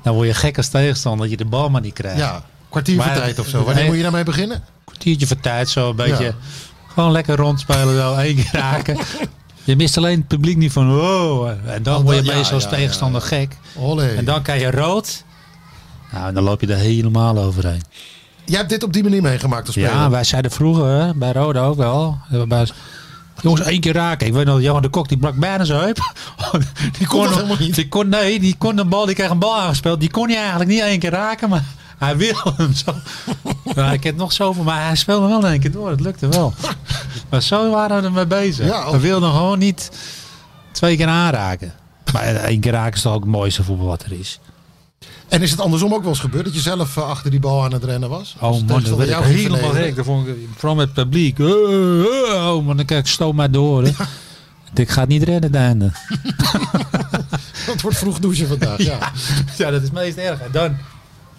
[SPEAKER 6] dan word je gek als tegenstander dat je de bal maar niet krijgt.
[SPEAKER 7] Ja, kwartier voor
[SPEAKER 6] Maar-
[SPEAKER 7] tijd of zo. Wanneer
[SPEAKER 6] Nee.
[SPEAKER 7] moet je daarmee beginnen?
[SPEAKER 6] kwartiertje voor tijd zo een beetje.
[SPEAKER 7] Ja.
[SPEAKER 6] Gewoon lekker rondspelen zo, één keer
[SPEAKER 7] <laughs>
[SPEAKER 6] raken. Je mist alleen het publiek niet van wow. En dan word je
[SPEAKER 7] Oh, ja,
[SPEAKER 6] meestal als
[SPEAKER 7] ja,
[SPEAKER 6] tegenstander gek.
[SPEAKER 7] Olé.
[SPEAKER 6] En dan krijg je rood. Nou, en dan loop je er helemaal overheen.
[SPEAKER 7] Jij hebt dit op die manier meegemaakt als speler.
[SPEAKER 6] Ja, wij zeiden vroeger, bij Rode ook wel. Bij, jongens, één keer raken. Ik weet nog, Johan de Kok, die brak bijna zijn heup. <laughs> die,
[SPEAKER 7] kon toch helemaal niet?
[SPEAKER 6] die kon, nee, die kon de bal, die kreeg een bal aangespeeld. Die kon je eigenlijk niet één keer raken, maar hij wilde <laughs> hem zo. Nou, ik heb nog zoveel, maar hij speelde wel in één keer door. Het lukte
[SPEAKER 7] <laughs>
[SPEAKER 6] wel. maar zo waren we ermee bezig.
[SPEAKER 7] Ja,
[SPEAKER 6] we wilden gewoon niet twee keer aanraken. Maar eh, één keer raken is toch ook het mooiste voetbal wat er is.
[SPEAKER 7] En is het andersom ook wel eens gebeurd dat je zelf eh, achter die bal aan het rennen was? Als
[SPEAKER 6] Oh
[SPEAKER 7] de
[SPEAKER 6] man, dat
[SPEAKER 7] tegenstander
[SPEAKER 6] werd ik
[SPEAKER 7] ging
[SPEAKER 6] helemaal
[SPEAKER 7] vernederen.
[SPEAKER 6] gek. Dat vond ik- Vooral met het publiek. Eh, eh, Oh man, dan kijk ik stoom maar door. hè. Ik denk, Ik ga het niet redden uiteinde.
[SPEAKER 7] <laughs> Dat wordt vroeg douchen vandaag. Ja.
[SPEAKER 6] Ja, dat is meest erg. En dan,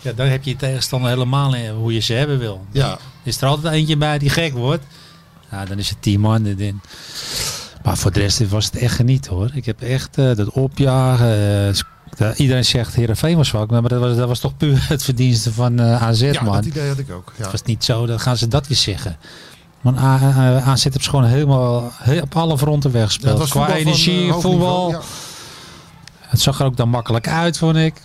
[SPEAKER 6] ja, dan heb je je tegenstander helemaal in hoe je ze hebben wil.
[SPEAKER 7] Ja.
[SPEAKER 6] Is er altijd eentje bij die gek wordt? Nou, dan is het tien man erin. Maar voor de rest was het echt geniet hoor. Ik heb echt eh, dat opjagen. eh, s- dat- iedereen zegt Heerenveen was zwak. Maar dat was, dat was toch puur <laughs> het verdienste van eh, AZ
[SPEAKER 7] ja,
[SPEAKER 6] man.
[SPEAKER 7] dat idee had ik ook. Ja.
[SPEAKER 6] Het was niet zo, dan gaan ze dat weer zeggen. Want A- A- AZ heeft ze gewoon helemaal he- op alle fronten
[SPEAKER 7] Ja, het
[SPEAKER 6] weggespeeld.
[SPEAKER 7] was
[SPEAKER 6] Qua
[SPEAKER 7] voetbal van, eh,
[SPEAKER 6] energie,
[SPEAKER 7] hoog
[SPEAKER 6] voetbal.
[SPEAKER 7] niveau,
[SPEAKER 6] Het zag er ook dan makkelijk uit, vond ik.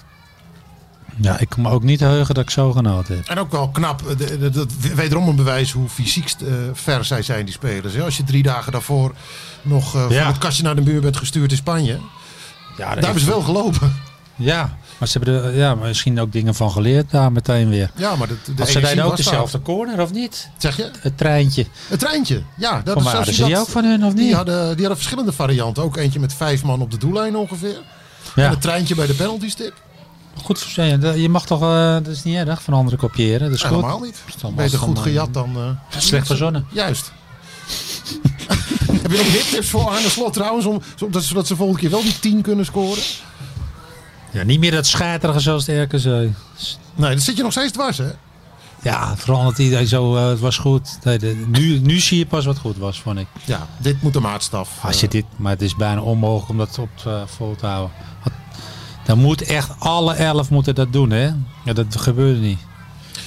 [SPEAKER 6] Ja, ik kan me ook niet heugen dat ik zo genoten heb.
[SPEAKER 7] En ook wel knap, eh, de- de- dat wederom een bewijs hoe fysiek eh, ver zij zijn, die spelers. hè. Als je drie dagen daarvoor nog eh,
[SPEAKER 6] Ja.
[SPEAKER 7] van het kastje naar de muur bent gestuurd in Spanje.
[SPEAKER 6] Ja,
[SPEAKER 7] Daar hebben ze wel gelopen.
[SPEAKER 6] Ja, maar ze hebben er ja, misschien ook dingen van geleerd daar meteen weer.
[SPEAKER 7] Ja, maar dat, de
[SPEAKER 6] Want ze
[SPEAKER 7] energie
[SPEAKER 6] deden ook
[SPEAKER 7] was daar.
[SPEAKER 6] dezelfde corner, of niet?
[SPEAKER 7] Zeg je?
[SPEAKER 6] Het treintje.
[SPEAKER 7] Het treintje. Ja, dat
[SPEAKER 6] Kom maar,
[SPEAKER 7] zo zie
[SPEAKER 6] hadden ze
[SPEAKER 7] je
[SPEAKER 6] die
[SPEAKER 7] dat.
[SPEAKER 6] ook van hun, of
[SPEAKER 7] Die
[SPEAKER 6] niet?
[SPEAKER 7] hadden, die hadden verschillende varianten. Ook eentje met vijf man op de doellijn ongeveer. En
[SPEAKER 6] Ja,
[SPEAKER 7] het treintje bij de penalty stip.
[SPEAKER 6] goed. voor ze. Je mag toch, eh, dat is niet erg, van anderen kopiëren. Dat is goed.
[SPEAKER 7] Helemaal niet.
[SPEAKER 6] allemaal
[SPEAKER 7] Beter goed
[SPEAKER 6] standaard.
[SPEAKER 7] gejat dan... eh,
[SPEAKER 6] Slecht verzonnen.
[SPEAKER 7] Juist. <laughs> Heb je nog hittips voor Arne Slot trouwens? Om, zodat, zodat ze volgende keer wel die 10 kunnen scoren?
[SPEAKER 6] Ja, niet meer dat scheiterige zoals de RKC.
[SPEAKER 7] Nee, dat zit je nog steeds dwars hè?
[SPEAKER 6] Ja, vooral dat iedereen zo, eh, het was goed. Nee, de- nu, nu zie je pas wat goed was, vond ik.
[SPEAKER 7] Ja, dit moet de maatstaf.
[SPEAKER 6] Als je
[SPEAKER 7] eh,
[SPEAKER 6] dit, maar het is bijna onmogelijk om dat op eh, vol te houden. Want dan moet echt alle elf moeten dat doen, hè? Ja, dat gebeurde niet.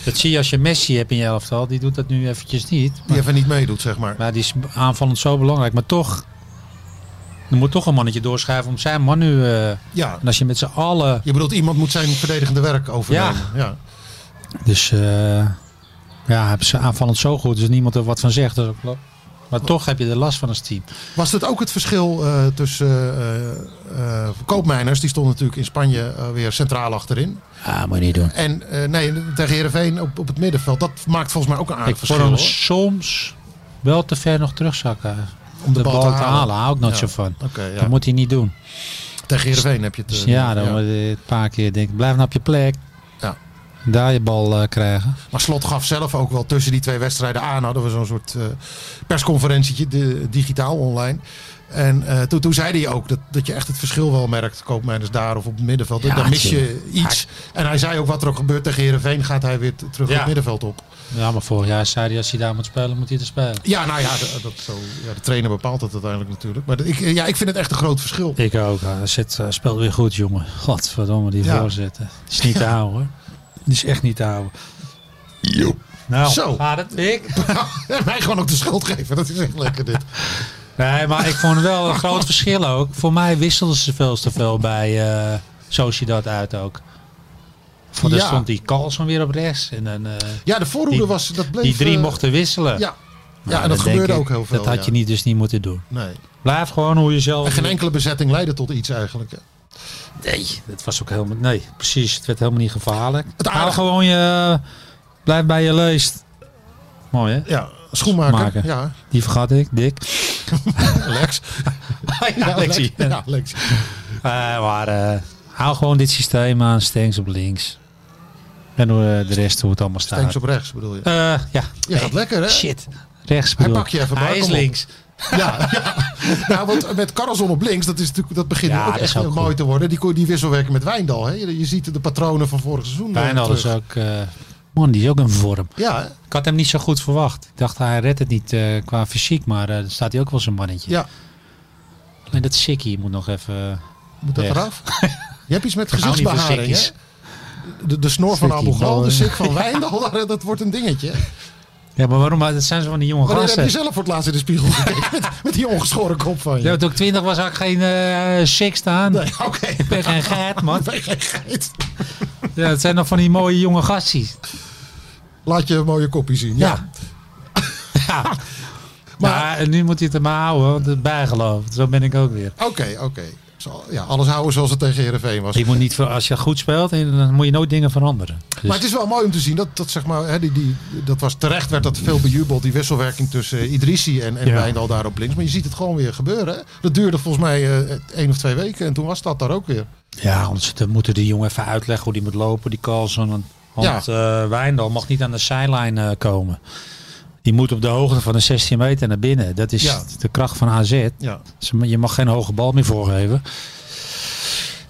[SPEAKER 6] Dat zie je als je Messi hebt in je elftal. Die doet dat nu eventjes niet.
[SPEAKER 7] die even niet meedoet, zeg maar.
[SPEAKER 6] Maar die is aanvallend zo belangrijk. Maar toch, er moet toch een mannetje doorschuiven om zijn man nu... eh,
[SPEAKER 7] Ja,
[SPEAKER 6] en als je met z'n allen
[SPEAKER 7] je bedoelt iemand moet zijn verdedigende werk overnemen. Ja.
[SPEAKER 6] Dus eh, ja, hebben ze aanvallend zo goed, dus niemand er wat van zegt. Dat is ook klopt. Maar toch heb je er last van als team.
[SPEAKER 7] Was dat ook het verschil eh, tussen eh, eh, koopmijners? Die stonden natuurlijk in Spanje eh, weer centraal achterin.
[SPEAKER 6] Ja, Ah, moet je niet doen.
[SPEAKER 7] En eh, nee, tegen Heerenveen op, op het middenveld. Dat maakt volgens mij ook een aardig
[SPEAKER 6] Ik vond
[SPEAKER 7] verschil.
[SPEAKER 6] hem
[SPEAKER 7] hoor.
[SPEAKER 6] soms wel te ver nog terugzakken.
[SPEAKER 7] Om
[SPEAKER 6] De, bal, te halen, hou ik nooit
[SPEAKER 7] Ja.
[SPEAKER 6] zo van.
[SPEAKER 7] Oké, ja.
[SPEAKER 6] Dat moet hij niet doen.
[SPEAKER 7] Tegen Heerenveen heb je het.
[SPEAKER 6] Dus
[SPEAKER 7] eh,
[SPEAKER 6] ja, dan word je een paar keer denk ik, blijf nou op je plek.
[SPEAKER 7] Ja.
[SPEAKER 6] Daar je bal eh, krijgen.
[SPEAKER 7] Maar Slot gaf zelf ook wel tussen die twee wedstrijden aan. Hadden we zo'n soort eh, persconferentietje, di- digitaal online. En eh, toen, toen zei hij ook dat, dat je echt het verschil wel merkt. Koopmijners daar of op het middenveld.
[SPEAKER 6] Ja,
[SPEAKER 7] dan mis je
[SPEAKER 6] tuurlijk.
[SPEAKER 7] iets. En hij zei ook wat er ook gebeurt tegen Heerenveen gaat hij weer t- terug
[SPEAKER 6] Ja.
[SPEAKER 7] het middenveld op.
[SPEAKER 6] Ja, maar vorig jaar zei hij als hij daar moet spelen, moet hij er spelen.
[SPEAKER 7] Ja, nou ja, dat, dat zo, ja, de trainer bepaalt dat uiteindelijk natuurlijk. Maar ik, ja, ik vind het echt een groot verschil.
[SPEAKER 6] Ik ook. Hij zit, eh, speelt weer goed, jongen. Godverdomme, die
[SPEAKER 7] Ja.
[SPEAKER 6] voorzetten. is niet <laughs> te houden, hoor. Die is echt niet te houden. Nou,
[SPEAKER 7] Zo.
[SPEAKER 6] gaat het, Dick?
[SPEAKER 7] <laughs> en wij gewoon ook de schuld geven. Dat is echt lekker dit.
[SPEAKER 6] Nee, maar ik vond wel een
[SPEAKER 7] <laughs>
[SPEAKER 6] groot verschil ook. Voor mij wisselden ze veel te veel bij eh Sociedad uit ook. Voor daar
[SPEAKER 7] Ja.
[SPEAKER 6] stond die Carlson weer op rechts. En dan, eh,
[SPEAKER 7] Ja, de voorhoede
[SPEAKER 6] Die-
[SPEAKER 7] was, dat bleef...
[SPEAKER 6] die drie
[SPEAKER 7] eh,
[SPEAKER 6] mochten wisselen.
[SPEAKER 7] Ja,
[SPEAKER 6] Nou,
[SPEAKER 7] ja en dat
[SPEAKER 6] denk
[SPEAKER 7] gebeurde
[SPEAKER 6] ik,
[SPEAKER 7] ook heel veel.
[SPEAKER 6] Dat had
[SPEAKER 7] ja.
[SPEAKER 6] je niet, dus niet moeten doen.
[SPEAKER 7] Nee.
[SPEAKER 6] Blijf gewoon hoe je zelf...
[SPEAKER 7] En geen enkele bezetting leidde tot iets eigenlijk. hè.
[SPEAKER 6] Nee, dat was ook helemaal... Nee, precies. Het werd helemaal niet gevaarlijk.
[SPEAKER 7] Het
[SPEAKER 6] Hou
[SPEAKER 7] aardige-
[SPEAKER 6] gewoon je... Blijf bij je leest. Mooi, hè?
[SPEAKER 7] Ja, schoenmaker.
[SPEAKER 6] Schoenmaker.
[SPEAKER 7] Ja, <laughs>
[SPEAKER 6] Die vergat ik, Dick.
[SPEAKER 7] Lex.
[SPEAKER 6] <laughs> ja, Lexie.
[SPEAKER 7] Lex. <laughs> Ja, Lex.
[SPEAKER 6] Eh, maar eh, hou gewoon dit systeem aan. Stengs op links. En hoe, eh, de rest, hoe het allemaal staat.
[SPEAKER 7] Tanks op rechts bedoel je.
[SPEAKER 6] Eh, ja.
[SPEAKER 7] Je gaat lekker hè?
[SPEAKER 6] Shit. Rechts bedoel.
[SPEAKER 7] pakt je even, maar
[SPEAKER 6] Hij is
[SPEAKER 7] kom op.
[SPEAKER 6] links.
[SPEAKER 7] Ja, <laughs> ja. Nou, want met Carlson op links, dat, is natuurlijk, dat begint
[SPEAKER 6] Ja,
[SPEAKER 7] nu ook
[SPEAKER 6] dat
[SPEAKER 7] echt
[SPEAKER 6] is ook
[SPEAKER 7] heel
[SPEAKER 6] goed.
[SPEAKER 7] mooi te worden. Die, ko- die wisselwerking met Wijndal. Hè? Je, je ziet de patronen van vorig seizoen. eh,
[SPEAKER 6] Bijna
[SPEAKER 7] terug.
[SPEAKER 6] is ook... eh, man, die is ook in vorm.
[SPEAKER 7] Ja, hè?
[SPEAKER 6] Ik had hem niet zo goed eh, verwacht. Ik dacht, hij redt het niet eh, qua fysiek. Maar eh, dan staat hij ook wel zijn mannetje.
[SPEAKER 7] ja.
[SPEAKER 6] En dat sikkie moet nog even...
[SPEAKER 7] Moet dat
[SPEAKER 6] Weg.
[SPEAKER 7] eraf? Je hebt iets met
[SPEAKER 6] <laughs> hou niet van
[SPEAKER 7] gezichtsbeharing, hè?
[SPEAKER 6] sikkies.
[SPEAKER 7] De, de snor van
[SPEAKER 6] Sikkie,
[SPEAKER 7] Abu Ghal,
[SPEAKER 6] nou,
[SPEAKER 7] de
[SPEAKER 6] eh.
[SPEAKER 7] sik
[SPEAKER 6] <laughs>
[SPEAKER 7] van Wijndal, daar- eh, dat wordt een dingetje.
[SPEAKER 6] Ja, maar waarom? eh, Dat zijn ze van die jonge
[SPEAKER 7] Wanneer heb
[SPEAKER 6] gasten.
[SPEAKER 7] je zelf voor het laatst in de spiegel gekeken
[SPEAKER 6] <laughs>
[SPEAKER 7] met, met die ongeschoren kop van je?
[SPEAKER 6] Ja, toen ik twintig was, had ik geen eh sik staan.
[SPEAKER 7] Nee, oké. <laughs>
[SPEAKER 6] Ik ben geen geit, man.
[SPEAKER 7] Ben geen geit.
[SPEAKER 6] Ja, het zijn nog van die mooie jonge gastjes.
[SPEAKER 7] Laat je een mooie kopie zien. Ja.
[SPEAKER 6] Ja. Ja. Maar en eh, nu moet je het er maar houden, want het bijgeloof. Zo ben ik ook weer.
[SPEAKER 7] Oké, oké. Zal- Ja, alles houden zoals het tegen Heerenveen was.
[SPEAKER 6] Je moet niet, voor- als je goed speelt, dan moet je nooit dingen veranderen. Dus-
[SPEAKER 7] Maar het is wel mooi om te zien dat, dat zeg maar, hè, die, die, dat was terecht, werd dat veel bejubeld, die wisselwerking tussen eh, Idrissi en, en
[SPEAKER 6] Ja.
[SPEAKER 7] Wijndal daar op links. Maar je ziet het gewoon weer gebeuren. hè. Dat duurde volgens mij eh, één of twee weken en toen was dat daar ook weer.
[SPEAKER 6] Ja, anders dan moeten die jongen even uitleggen hoe die moet lopen, die Carlson. Want
[SPEAKER 7] Ja.
[SPEAKER 6] want, eh, Wijndal mag niet aan de zijlijn eh, komen. Die moet op de hoogte van de 16 meter naar binnen. Dat is
[SPEAKER 7] Ja.
[SPEAKER 6] de kracht van AZ.
[SPEAKER 7] Ja.
[SPEAKER 6] Ze- Je mag geen hoge bal meer voorgeven.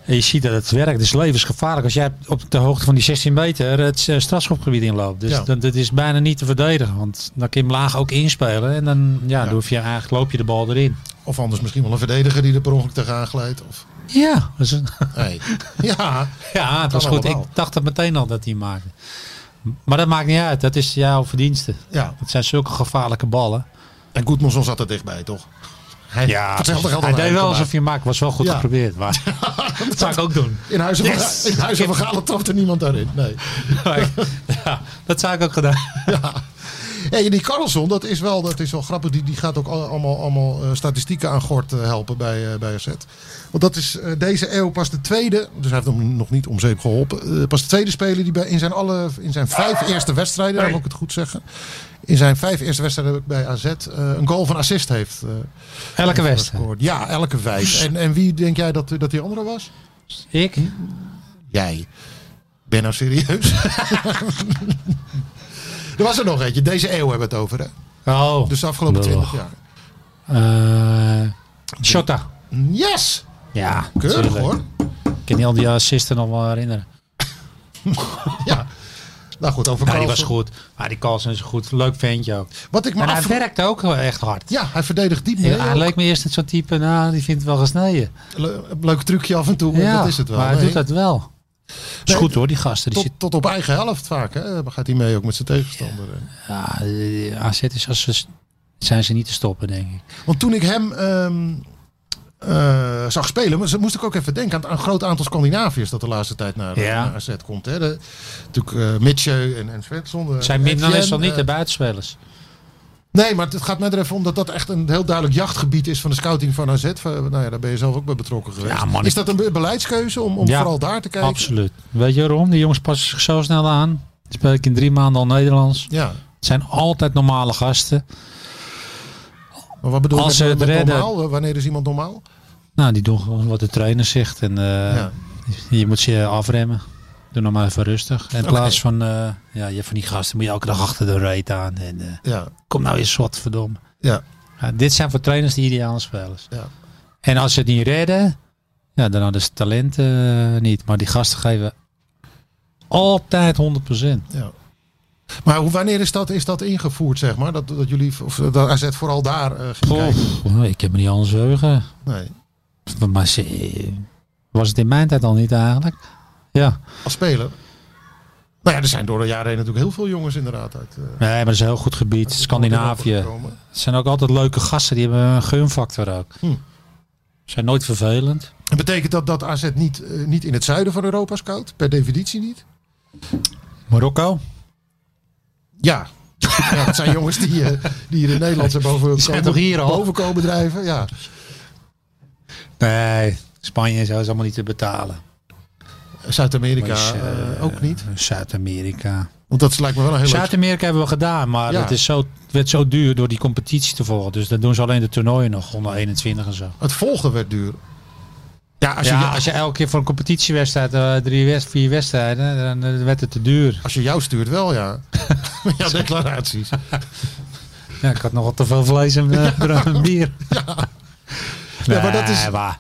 [SPEAKER 6] En je ziet dat het werkt. Het is levensgevaarlijk als jij op de hoogte van die 16 meter het eh, strafschopgebied inloopt. Dus
[SPEAKER 7] Ja.
[SPEAKER 6] dat, dat is bijna niet te verdedigen. Want dan kun je hem laag ook inspelen. En dan, ja,
[SPEAKER 7] Ja.
[SPEAKER 6] Dan hoef je, eigenlijk loop je de bal erin.
[SPEAKER 7] Of anders misschien wel een verdediger die er per ongeluk tegenaan glijdt. Of,
[SPEAKER 6] Ja, <laughs> dat is een,
[SPEAKER 7] nee. Ja,
[SPEAKER 6] Dus, Ja, het was
[SPEAKER 7] Kan
[SPEAKER 6] goed. Ik
[SPEAKER 7] allemaal.
[SPEAKER 6] dacht dat meteen al dat hij maakte. Maar dat maakt niet uit. Dat is jouw verdienste.
[SPEAKER 7] ja.
[SPEAKER 6] Het zijn zulke gevaarlijke ballen.
[SPEAKER 7] En Goedmanson zat er dichtbij, toch? Hij, hetzelfde geldt
[SPEAKER 6] hij
[SPEAKER 7] aan
[SPEAKER 6] deed wel
[SPEAKER 7] gemaakt.
[SPEAKER 6] alsof je maakt. Was wel goed
[SPEAKER 7] Ja.
[SPEAKER 6] geprobeerd. Maar
[SPEAKER 7] <laughs>
[SPEAKER 6] dat zou ik ook doen.
[SPEAKER 7] In huizen van,
[SPEAKER 6] Yes!
[SPEAKER 7] in Huizen van Galen trapte niemand daarin. Nee.
[SPEAKER 6] <laughs> ja, dat zou ik ook gedaan.
[SPEAKER 7] <laughs> Hey, en die Carlson, dat is wel, dat is wel grappig. Die, die gaat ook al- allemaal, allemaal eh, statistieken aan Gort eh, helpen bij, eh, bij AZ. Want dat is eh, deze eeuw pas de tweede. Dus hij heeft hem nog niet om zeep geholpen. eh, pas de tweede speler die bij, in, zijn alle, in zijn vijf eerste wedstrijden, dan moet ik het goed zeggen. In zijn vijf eerste wedstrijden bij AZ eh, een goal van assist heeft eh,
[SPEAKER 6] Elke wedstrijd.
[SPEAKER 7] gescoord. Ja, elke vijf. En, en wie denk jij dat, dat die andere was?
[SPEAKER 6] Ik?
[SPEAKER 7] Jij. Ben nou serieus? <laughs> er was er nog eentje. Deze eeuw hebben we het over, hè?
[SPEAKER 6] Oh.
[SPEAKER 7] Dus de afgelopen
[SPEAKER 6] Lullig.
[SPEAKER 7] 20 jaar.
[SPEAKER 6] Eh, Shota.
[SPEAKER 7] Yes!
[SPEAKER 6] Ja.
[SPEAKER 7] Keurig
[SPEAKER 6] natuurlijk.
[SPEAKER 7] hoor.
[SPEAKER 6] Ik kan niet al die assisten nog wel herinneren.
[SPEAKER 7] Ja. Nou goed, over
[SPEAKER 6] Nou, die was
[SPEAKER 7] Carlsen.
[SPEAKER 6] goed. Maar die Carlsen is goed. Leuk ventje ook.
[SPEAKER 7] Wat ik me
[SPEAKER 6] Maar hij
[SPEAKER 7] af...
[SPEAKER 6] werkte ook wel echt hard.
[SPEAKER 7] Ja, hij verdedigt diep.
[SPEAKER 6] Ja,
[SPEAKER 7] mee.
[SPEAKER 6] hij leek me eerst zo'n type, nou, die vindt het wel gesneden.
[SPEAKER 7] Le- leuk trucje af en toe, maar dat is het wel.
[SPEAKER 6] Maar hij
[SPEAKER 7] Nee.
[SPEAKER 6] doet dat wel. is
[SPEAKER 7] Nee,
[SPEAKER 6] goed hoor, die gasten. Die
[SPEAKER 7] Tot, tot op eigen helft vaak. Hè? Dan Gaat hij mee ook met zijn tegenstander.
[SPEAKER 6] zit, ja, eh, AZ is als ze, zijn ze niet te stoppen, denk ik.
[SPEAKER 7] Want toen ik hem ehm, eh, zag spelen, moest- moest ik ook even denken aan, aan een groot aantal Scandinaviërs dat de laatste tijd naar,
[SPEAKER 6] Ja.
[SPEAKER 7] naar AZ komt. Hè? De, natuurlijk eh Mitchell en, en Svensson. eh,
[SPEAKER 6] Zijn minder
[SPEAKER 7] Etienne,
[SPEAKER 6] is dan niet
[SPEAKER 7] eh,
[SPEAKER 6] de buitenspelers.
[SPEAKER 7] Nee, maar het gaat mij er even om dat dat echt een heel duidelijk jachtgebied is van de scouting van AZ. Van, Nou ja, daar ben je zelf ook bij betrokken geweest.
[SPEAKER 6] Ja, man,
[SPEAKER 7] is
[SPEAKER 6] ik-
[SPEAKER 7] dat een be- beleidskeuze om, om
[SPEAKER 6] Ja,
[SPEAKER 7] vooral daar te kijken?
[SPEAKER 6] Absoluut. Weet je waarom? Die jongens passen zich zo snel aan. Speel ik in drie maanden al Nederlands.
[SPEAKER 7] Ja,
[SPEAKER 6] Het zijn altijd normale gasten.
[SPEAKER 7] maar wat bedoel je
[SPEAKER 6] Als
[SPEAKER 7] met,
[SPEAKER 6] ze het
[SPEAKER 7] met
[SPEAKER 6] redden-
[SPEAKER 7] normaal? Wanneer is iemand normaal?
[SPEAKER 6] Nou, die doen gewoon wat de trainer zegt. En eh,
[SPEAKER 7] Ja.
[SPEAKER 6] je moet ze afremmen. Doe nog maar even rustig. En in plaats van, eh, ja, je hebt van die gasten moet je elke dag achter de reet aan. En, eh,
[SPEAKER 7] Ja,
[SPEAKER 6] kom nou eens zot, verdomme.
[SPEAKER 7] ja,
[SPEAKER 6] Ja, dit zijn voor trainers de ideale spelers.
[SPEAKER 7] Ja.
[SPEAKER 6] En als ze het niet redden, ja, dan hadden ze talent eh, niet. Maar die gasten geven altijd 100%.
[SPEAKER 7] ja. Maar hoe, wanneer is dat, is dat ingevoerd, zeg maar? Dat, dat jullie, of dat AZ vooral daar eh, ging kijken?
[SPEAKER 6] Oeh, Oh, ik heb me niet anders heugen.
[SPEAKER 7] Nee,
[SPEAKER 6] Maar ze- was het in mijn tijd al niet eigenlijk? Ja.
[SPEAKER 7] als speler? Nou ja, er zijn door de jaren heen natuurlijk heel veel jongens inderdaad uit... eh,
[SPEAKER 6] Nee, maar dat is een heel goed gebied. Scandinavië.
[SPEAKER 7] gekomen.
[SPEAKER 6] Het zijn ook altijd leuke gasten. Die hebben een gunfactor ook.
[SPEAKER 7] Hm.
[SPEAKER 6] Zijn nooit vervelend.
[SPEAKER 7] En betekent dat dat AZ niet, eh, niet in het zuiden van Europa scout? Per definitie niet?
[SPEAKER 6] Marokko?
[SPEAKER 7] Ja. ja dat zijn jongens die, eh, die hier in Nederland zijn boven,
[SPEAKER 6] zijn
[SPEAKER 7] komen,
[SPEAKER 6] toch hier al?
[SPEAKER 7] boven komen drijven. Ja.
[SPEAKER 6] Nee, Spanje en zo is allemaal niet te betalen.
[SPEAKER 7] Zuid-Amerika
[SPEAKER 6] Maar is, eh,
[SPEAKER 7] eh, ook niet.
[SPEAKER 6] Zuid-Amerika.
[SPEAKER 7] Want dat lijkt me wel een heel leuk...
[SPEAKER 6] Zuid-Amerika hebben we gedaan, maar
[SPEAKER 7] Ja.
[SPEAKER 6] het, is zo, het werd zo duur door die competitie te volgen. Dus dan doen ze alleen de toernooien nog, onder 21 en zo.
[SPEAKER 7] Het volgen werd duur. Ja, als,
[SPEAKER 6] ja,
[SPEAKER 7] je,
[SPEAKER 6] als je elke keer voor een competitiewedstrijd eh, drie west, vier wedstrijden, dan eh, werd het te duur.
[SPEAKER 7] als je jou stuurt wel, ja. <laughs> Met jouw declaraties.
[SPEAKER 6] Ja, ik had nogal te veel vlees en <laughs> eh, brood en bier.
[SPEAKER 7] Ja, maar dat is-
[SPEAKER 6] Nee, maar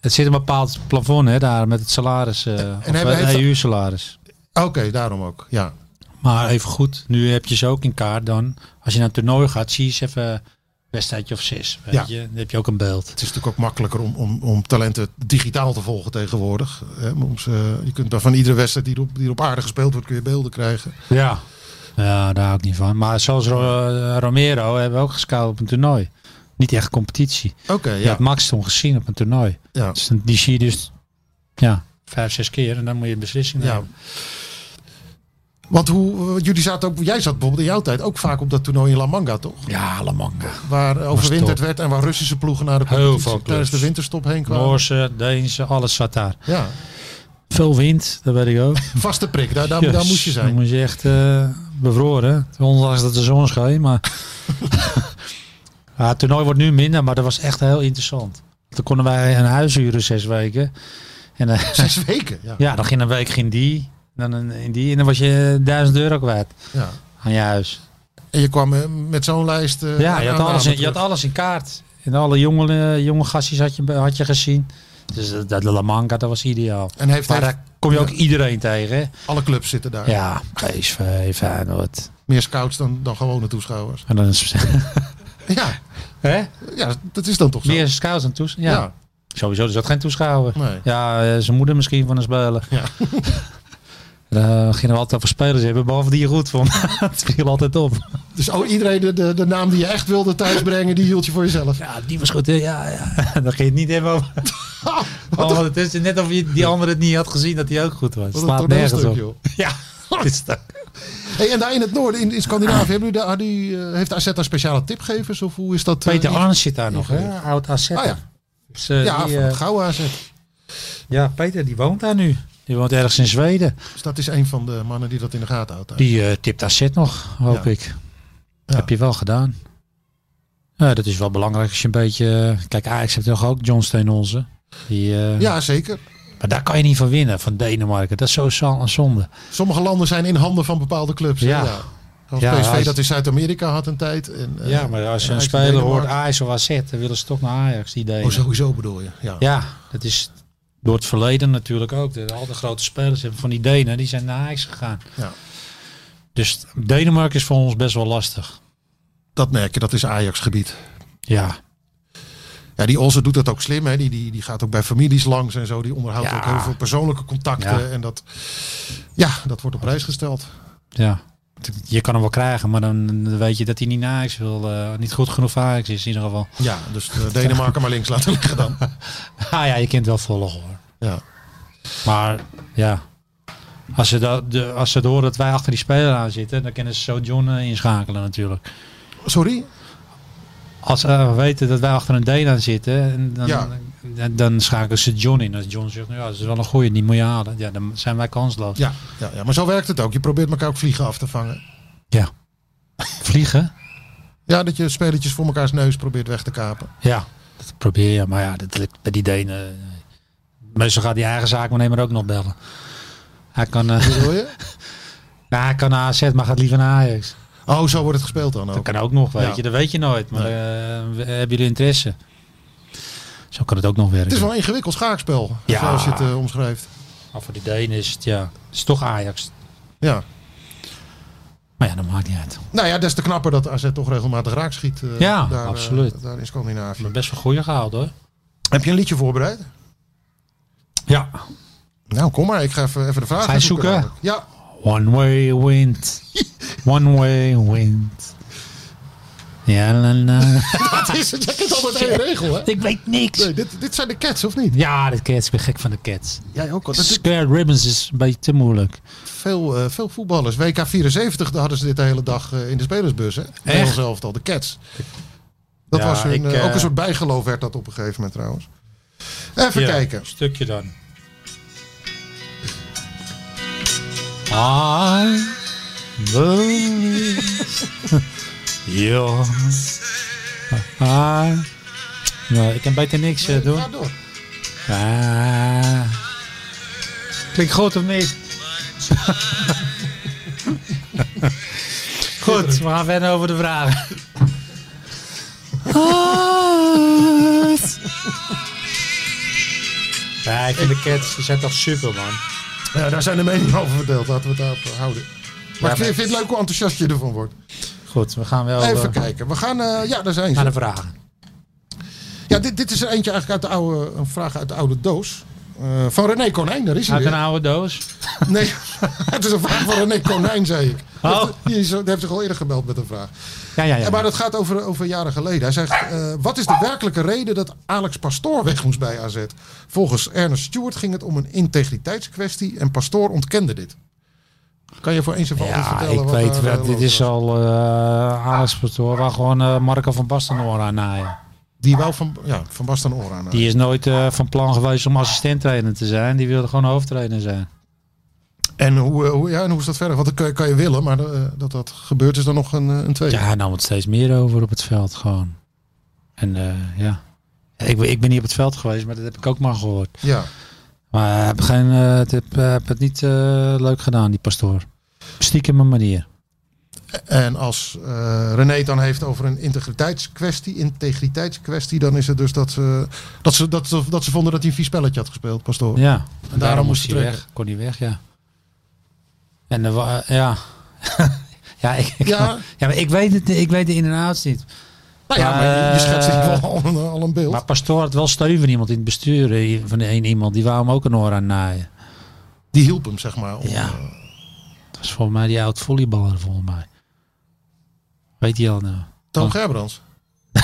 [SPEAKER 6] Het zit een bepaald plafond hè, daar met het salaris. eh of
[SPEAKER 7] hebben-
[SPEAKER 6] het
[SPEAKER 7] heeft-
[SPEAKER 6] EU-salaris.
[SPEAKER 7] Oké, daarom ook. Ja.
[SPEAKER 6] Maar even goed, nu heb je ze ook in kaart dan. Als je naar een toernooi gaat, zie je ze even wedstrijdje of zes. Weet
[SPEAKER 7] Ja.
[SPEAKER 6] je? Dan heb je ook een beeld.
[SPEAKER 7] Het is natuurlijk ook makkelijker om, om, om talenten digitaal te volgen tegenwoordig. Hè, om ze- je kunt daar van iedere wedstrijd die er, op, die er op aarde gespeeld wordt, kun je beelden krijgen.
[SPEAKER 6] Ja. Ja, daar hou ik niet van. Maar zoals Ro- eh, Romero hebben we ook gescout op een toernooi. Niet echt competitie.
[SPEAKER 7] Oké,
[SPEAKER 6] Je
[SPEAKER 7] ja.
[SPEAKER 6] had Max toen gezien op een toernooi.
[SPEAKER 7] ja.
[SPEAKER 6] Dus dan- die zie je dus ja, vijf, zes keer. En dan moet je een beslissing
[SPEAKER 7] Ja.
[SPEAKER 6] nemen.
[SPEAKER 7] Want hoe, jullie zaten ook, jij zat bijvoorbeeld in jouw tijd ook vaak op dat toernooi in La Manga, toch?
[SPEAKER 6] Ja, Lamanga.
[SPEAKER 7] Waar overwinterd
[SPEAKER 6] top.
[SPEAKER 7] werd en waar Russische ploegen naar de
[SPEAKER 6] Heel veel
[SPEAKER 7] competitie
[SPEAKER 6] clubs.
[SPEAKER 7] tijdens de winterstop heen kwamen.
[SPEAKER 6] Noorse, Deense, alles zat daar.
[SPEAKER 7] Ja,
[SPEAKER 6] Veel wind, dat weet ik
[SPEAKER 7] <laughs>
[SPEAKER 6] ook.
[SPEAKER 7] vaste prik, daar, daar, daar
[SPEAKER 6] Yes,
[SPEAKER 7] moest je
[SPEAKER 6] Dan
[SPEAKER 7] zijn.
[SPEAKER 6] moest je echt eh, bevroren. Ondanks dat de zon scheen.
[SPEAKER 7] <laughs>
[SPEAKER 6] Maar ja, het toernooi wordt nu minder, maar dat was echt heel interessant. Toen konden wij een huis huren zes weken. En eh,
[SPEAKER 7] Zes weken, ja.
[SPEAKER 6] ja, dan ging een week ging die. Dan een, in die. En dan was je duizend euro kwijt
[SPEAKER 7] ja.
[SPEAKER 6] aan je huis.
[SPEAKER 7] En je kwam eh, met zo'n lijst. eh,
[SPEAKER 6] Ja, je had,
[SPEAKER 7] aan-
[SPEAKER 6] alles
[SPEAKER 7] aan-
[SPEAKER 6] in, je had alles in kaart. En alle jonge, eh, jonge gastjes had je, had je gezien. Dus dat, dat La Manga, dat was ideaal.
[SPEAKER 7] En heeft,
[SPEAKER 6] Maar
[SPEAKER 7] heeft
[SPEAKER 6] daar kom je ook
[SPEAKER 7] ja.
[SPEAKER 6] iedereen tegen. hè?
[SPEAKER 7] alle clubs zitten daar.
[SPEAKER 6] Ja, PSV, Feyenoord.
[SPEAKER 7] Meer scouts dan, dan gewone toeschouwers.
[SPEAKER 6] En dan is <laughs>
[SPEAKER 7] Ja,
[SPEAKER 6] Hè?
[SPEAKER 7] ja, dat is dan toch zo.
[SPEAKER 6] Meer scouts dan toeschouwers. Ja.
[SPEAKER 7] ja.
[SPEAKER 6] Sowieso, er zat geen toeschouwer.
[SPEAKER 7] Nee.
[SPEAKER 6] Ja, eh, zijn moeder misschien van een speler.
[SPEAKER 7] Ja.
[SPEAKER 6] <laughs> Daar gingen we altijd over spelers hebben, behalve die je goed vond. <laughs> Het viel altijd op.
[SPEAKER 7] Dus oh, iedereen de, de, de naam die je echt wilde thuisbrengen, die hield je voor jezelf.
[SPEAKER 6] Ja, die was goed. hè? Ja, <laughs> ja. Dan ging je het niet hebben over.
[SPEAKER 7] <laughs>
[SPEAKER 6] Oh, het is net of je die andere het niet had gezien dat hij ook goed was.
[SPEAKER 7] Wat een
[SPEAKER 6] Slaat nergens
[SPEAKER 7] toneelstuk,
[SPEAKER 6] op.
[SPEAKER 7] joh.
[SPEAKER 6] <laughs> Ja, het is dat.
[SPEAKER 7] Hey, en daar in het noorden, in, in
[SPEAKER 6] Ah.
[SPEAKER 7] Scandinavië, hebben jullie daar, hadden jullie, eh, heeft AZ daar speciale tipgevers? Of hoe is dat? eh,
[SPEAKER 6] Peter
[SPEAKER 7] in-
[SPEAKER 6] Arns zit daar nog, hè?
[SPEAKER 7] Ja.
[SPEAKER 6] Oud AZ.
[SPEAKER 7] Ah ja,
[SPEAKER 6] Dus, eh,
[SPEAKER 7] ja
[SPEAKER 6] die,
[SPEAKER 7] van het
[SPEAKER 6] eh,
[SPEAKER 7] Gouwe AZ.
[SPEAKER 6] ja, Peter die woont daar nu. Die woont ergens in Zweden.
[SPEAKER 7] Dus dat is een van de mannen die dat in de gaten houdt. daar.
[SPEAKER 6] Die eh, tipt AZ nog, hoop
[SPEAKER 7] Ja.
[SPEAKER 6] ik.
[SPEAKER 7] Ja.
[SPEAKER 6] Heb je wel gedaan. Ja, dat is wel belangrijk als je een beetje... eh, Kijk, Ajax heeft toch ook John Steenholzen. Die, eh,
[SPEAKER 7] Ja, zeker.
[SPEAKER 6] Maar daar kan je niet van winnen, van Denemarken. Dat is zo zo- een zonde.
[SPEAKER 7] Sommige landen zijn in handen van bepaalde clubs. hè?
[SPEAKER 6] Ja.
[SPEAKER 7] Als
[SPEAKER 6] Ja,
[SPEAKER 7] PSV
[SPEAKER 6] als-
[SPEAKER 7] dat in Zuid-Amerika had een tijd. En, eh,
[SPEAKER 6] ja, maar als je
[SPEAKER 7] en
[SPEAKER 6] een
[SPEAKER 7] Ajax
[SPEAKER 6] speler
[SPEAKER 7] Denemarken.
[SPEAKER 6] hoort Ajax of AZ, dan willen ze toch naar Ajax, die Denen.
[SPEAKER 7] Oh, sowieso bedoel je. Ja.
[SPEAKER 6] Ja, dat is door het verleden natuurlijk ook. De, al de grote spelers hebben van die Denen, die zijn naar Ajax gegaan.
[SPEAKER 7] Ja.
[SPEAKER 6] Dus Denemarken is voor ons best wel lastig.
[SPEAKER 7] Dat merk je, dat is Ajax-gebied.
[SPEAKER 6] Ja,
[SPEAKER 7] Ja, die Olsen doet dat ook slim. Hè? Die, die, die gaat ook bij families langs en zo. Die onderhoudt
[SPEAKER 6] Ja.
[SPEAKER 7] ook heel veel persoonlijke contacten.
[SPEAKER 6] Ja.
[SPEAKER 7] En dat, ja, dat wordt op prijs gesteld.
[SPEAKER 6] ja. Je kan hem wel krijgen, maar dan weet je dat hij niet naar Ajax wil. eh, niet goed genoeg voor Ajax is in ieder geval. <laughs>
[SPEAKER 7] Ja, dus eh, Denemarken maar links laten liggen dan.
[SPEAKER 6] Ah ja, je kunt wel volgen hoor.
[SPEAKER 7] Ja.
[SPEAKER 6] Maar ja, als ze, dat, de, als ze horen dat wij achter die speler aan zitten, dan kunnen ze zo John eh, inschakelen natuurlijk.
[SPEAKER 7] Sorry?
[SPEAKER 6] Als ze eh, weten dat wij achter een Deen aan zitten, en dan,
[SPEAKER 7] Ja.
[SPEAKER 6] dan, dan schakelen ze John in. Als John zegt, nou ja, dat is wel een goeie, die moet je halen. Ja, dan zijn wij kansloos.
[SPEAKER 7] Ja, ja, ja, maar zo werkt het ook. Je probeert elkaar ook vliegen af te vangen.
[SPEAKER 6] Ja. <laughs> Vliegen?
[SPEAKER 7] Ja, dat je spelletjes voor mekaars neus probeert weg te kapen.
[SPEAKER 6] Ja, dat probeer je. Maar ja, dat lukt bij die Denen. eh, Meestal gaat die eigen zaakwaarnemer ook nog bellen. Hij kan, eh
[SPEAKER 7] Bedoel je?
[SPEAKER 6] nou, <laughs> hij kan naar AZ, maar gaat liever naar Ajax.
[SPEAKER 7] Oh, zo wordt het gespeeld dan
[SPEAKER 6] Dat
[SPEAKER 7] ook.
[SPEAKER 6] kan ook nog, weet
[SPEAKER 7] Ja.
[SPEAKER 6] je. Dat weet je nooit. Maar
[SPEAKER 7] Nee.
[SPEAKER 6] eh, we- hebben jullie interesse? Zo kan het ook nog werken.
[SPEAKER 7] Het is wel een ingewikkeld schaakspel,
[SPEAKER 6] Ja.
[SPEAKER 7] zoals je het eh, omschrijft.
[SPEAKER 6] Maar voor die Denen is het, ja. Het is toch Ajax.
[SPEAKER 7] Ja.
[SPEAKER 6] Maar ja, dat maakt niet uit.
[SPEAKER 7] Nou ja, des te knapper dat AZ toch regelmatig raak schiet. eh,
[SPEAKER 6] Ja,
[SPEAKER 7] eh,
[SPEAKER 6] absoluut.
[SPEAKER 7] daar in Scandinavië.
[SPEAKER 6] Maar best wel goeie gehaald, hoor.
[SPEAKER 7] Heb je een liedje voorbereid?
[SPEAKER 6] Ja.
[SPEAKER 7] Nou, kom maar. Ik ga even, even de vraag
[SPEAKER 6] Ga je
[SPEAKER 7] zoeken
[SPEAKER 6] zoeken?
[SPEAKER 7] namelijk. Ja.
[SPEAKER 6] One way wind. One way wind. Ja, la, la.
[SPEAKER 7] <laughs> Het is, jij kent altijd één regel, hè?
[SPEAKER 6] Ik weet niks.
[SPEAKER 7] Nee, dit, dit zijn de cats, of niet?
[SPEAKER 6] Ja, de cats. Ik ben gek van de cats.
[SPEAKER 7] Jij ook al. Dat is
[SPEAKER 6] Square ribbons is een beetje te moeilijk.
[SPEAKER 7] veel, eh, veel voetballers. WK 74 daar hadden ze dit de hele dag eh, in de spelersbus, hè? Nederlands elftal, de cats. Dat
[SPEAKER 6] Ja,
[SPEAKER 7] was hun,
[SPEAKER 6] ik,
[SPEAKER 7] eh,
[SPEAKER 6] eh,
[SPEAKER 7] ook een soort bijgeloof werd dat op een gegeven moment trouwens. Even kijken.
[SPEAKER 6] Stukje dan. I <laughs> believe you. I... Nou, ik kan beter niks eh, doen.
[SPEAKER 7] Ga door.
[SPEAKER 6] Ah. Klinkt goed of <laughs> niet? goed, we gaan verder over de vragen. Ja, ik vind de cats, die zijn toch super man.
[SPEAKER 7] Ja, daar zijn de meningen over verdeeld. Laten we het daarop eh, houden. Maar
[SPEAKER 6] Ja,
[SPEAKER 7] ik vind,
[SPEAKER 6] maar-
[SPEAKER 7] vind het leuk hoe enthousiast je ervan wordt.
[SPEAKER 6] Goed, we gaan wel eh,
[SPEAKER 7] Even kijken. We gaan, eh, ja, daar zijn
[SPEAKER 6] naar de
[SPEAKER 7] ze.
[SPEAKER 6] vragen.
[SPEAKER 7] Ja, dit, dit is er eentje eigenlijk uit de oude, een vraag uit de oude doos. Eh, van René Konijn, daar is hij
[SPEAKER 6] Uit een
[SPEAKER 7] weer.
[SPEAKER 6] oude doos.
[SPEAKER 7] Nee, <laughs> het is een vraag van René Konijn, zei ik.
[SPEAKER 6] Oh.
[SPEAKER 7] Die, heeft- die is, die heeft toch al eerder gebeld met een vraag.
[SPEAKER 6] Ja, ja, ja.
[SPEAKER 7] Maar dat gaat over, over jaren geleden. Hij zegt, eh, wat is de werkelijke reden dat Alex Pastoor weg moest bij AZ? Volgens Ernest Stewart ging het om een integriteitskwestie en Pastoor ontkende dit. Kan je voor eens en voor altijd
[SPEAKER 6] Ja,
[SPEAKER 7] vertellen?
[SPEAKER 6] ik
[SPEAKER 7] wat
[SPEAKER 6] weet
[SPEAKER 7] daar,
[SPEAKER 6] wel.
[SPEAKER 7] eh,
[SPEAKER 6] Dit
[SPEAKER 7] los
[SPEAKER 6] is
[SPEAKER 7] was?
[SPEAKER 6] al eh Alex Pastoor waar gewoon eh, Marco van Basten oor aan naaien.
[SPEAKER 7] Die wou van, ja, van Basten Oran. aan.
[SPEAKER 6] Die is nooit eh, van plan geweest om assistenttrainer te zijn. Die wilde gewoon hoofdtrainer zijn.
[SPEAKER 7] En hoe, eh, hoe, ja, en hoe is dat verder? Want dat kan, je- kan je willen, maar eh, dat dat gebeurt is dan nog een, eh, een tweede.
[SPEAKER 6] Ja, hij nam het steeds meer over op het veld gewoon. En eh, ja. Ik, ben- ik ben niet op het veld geweest, maar dat heb ik ook maar gehoord.
[SPEAKER 7] Ja.
[SPEAKER 6] Maar ik heb, geen, eh, het, heb, eh, heb het niet eh, leuk gedaan, die pastoor. Stiekem een manier.
[SPEAKER 7] En als eh, René het dan heeft over een integriteitskwestie, integriteitskwestie, dan is het dus dat ze, dat ze, dat ze, dat ze vonden dat hij een vies spelletje had gespeeld, Pastoor.
[SPEAKER 6] Ja. En
[SPEAKER 7] daarom moest hij
[SPEAKER 6] weg. Kon hij weg, ja. En er wa- ja. <laughs> ja, ik, ik-
[SPEAKER 7] Ja.
[SPEAKER 6] ja. maar ik weet het ik weet de in- en outs niet.
[SPEAKER 7] Nou ja, maar je- je
[SPEAKER 6] Eh,
[SPEAKER 7] schetst in ieder geval al een, al een beeld.
[SPEAKER 6] Maar Pastoor had wel steun van iemand in het bestuur. eh, Van één iemand. Die wou hem ook een oor aan naaien.
[SPEAKER 7] die hielp hem, zeg maar. om-
[SPEAKER 6] Ja. Dat was volgens mij die oud volleyballer, volgens mij. Weet je al nou?
[SPEAKER 7] Toon Gerbrands.
[SPEAKER 6] <laughs>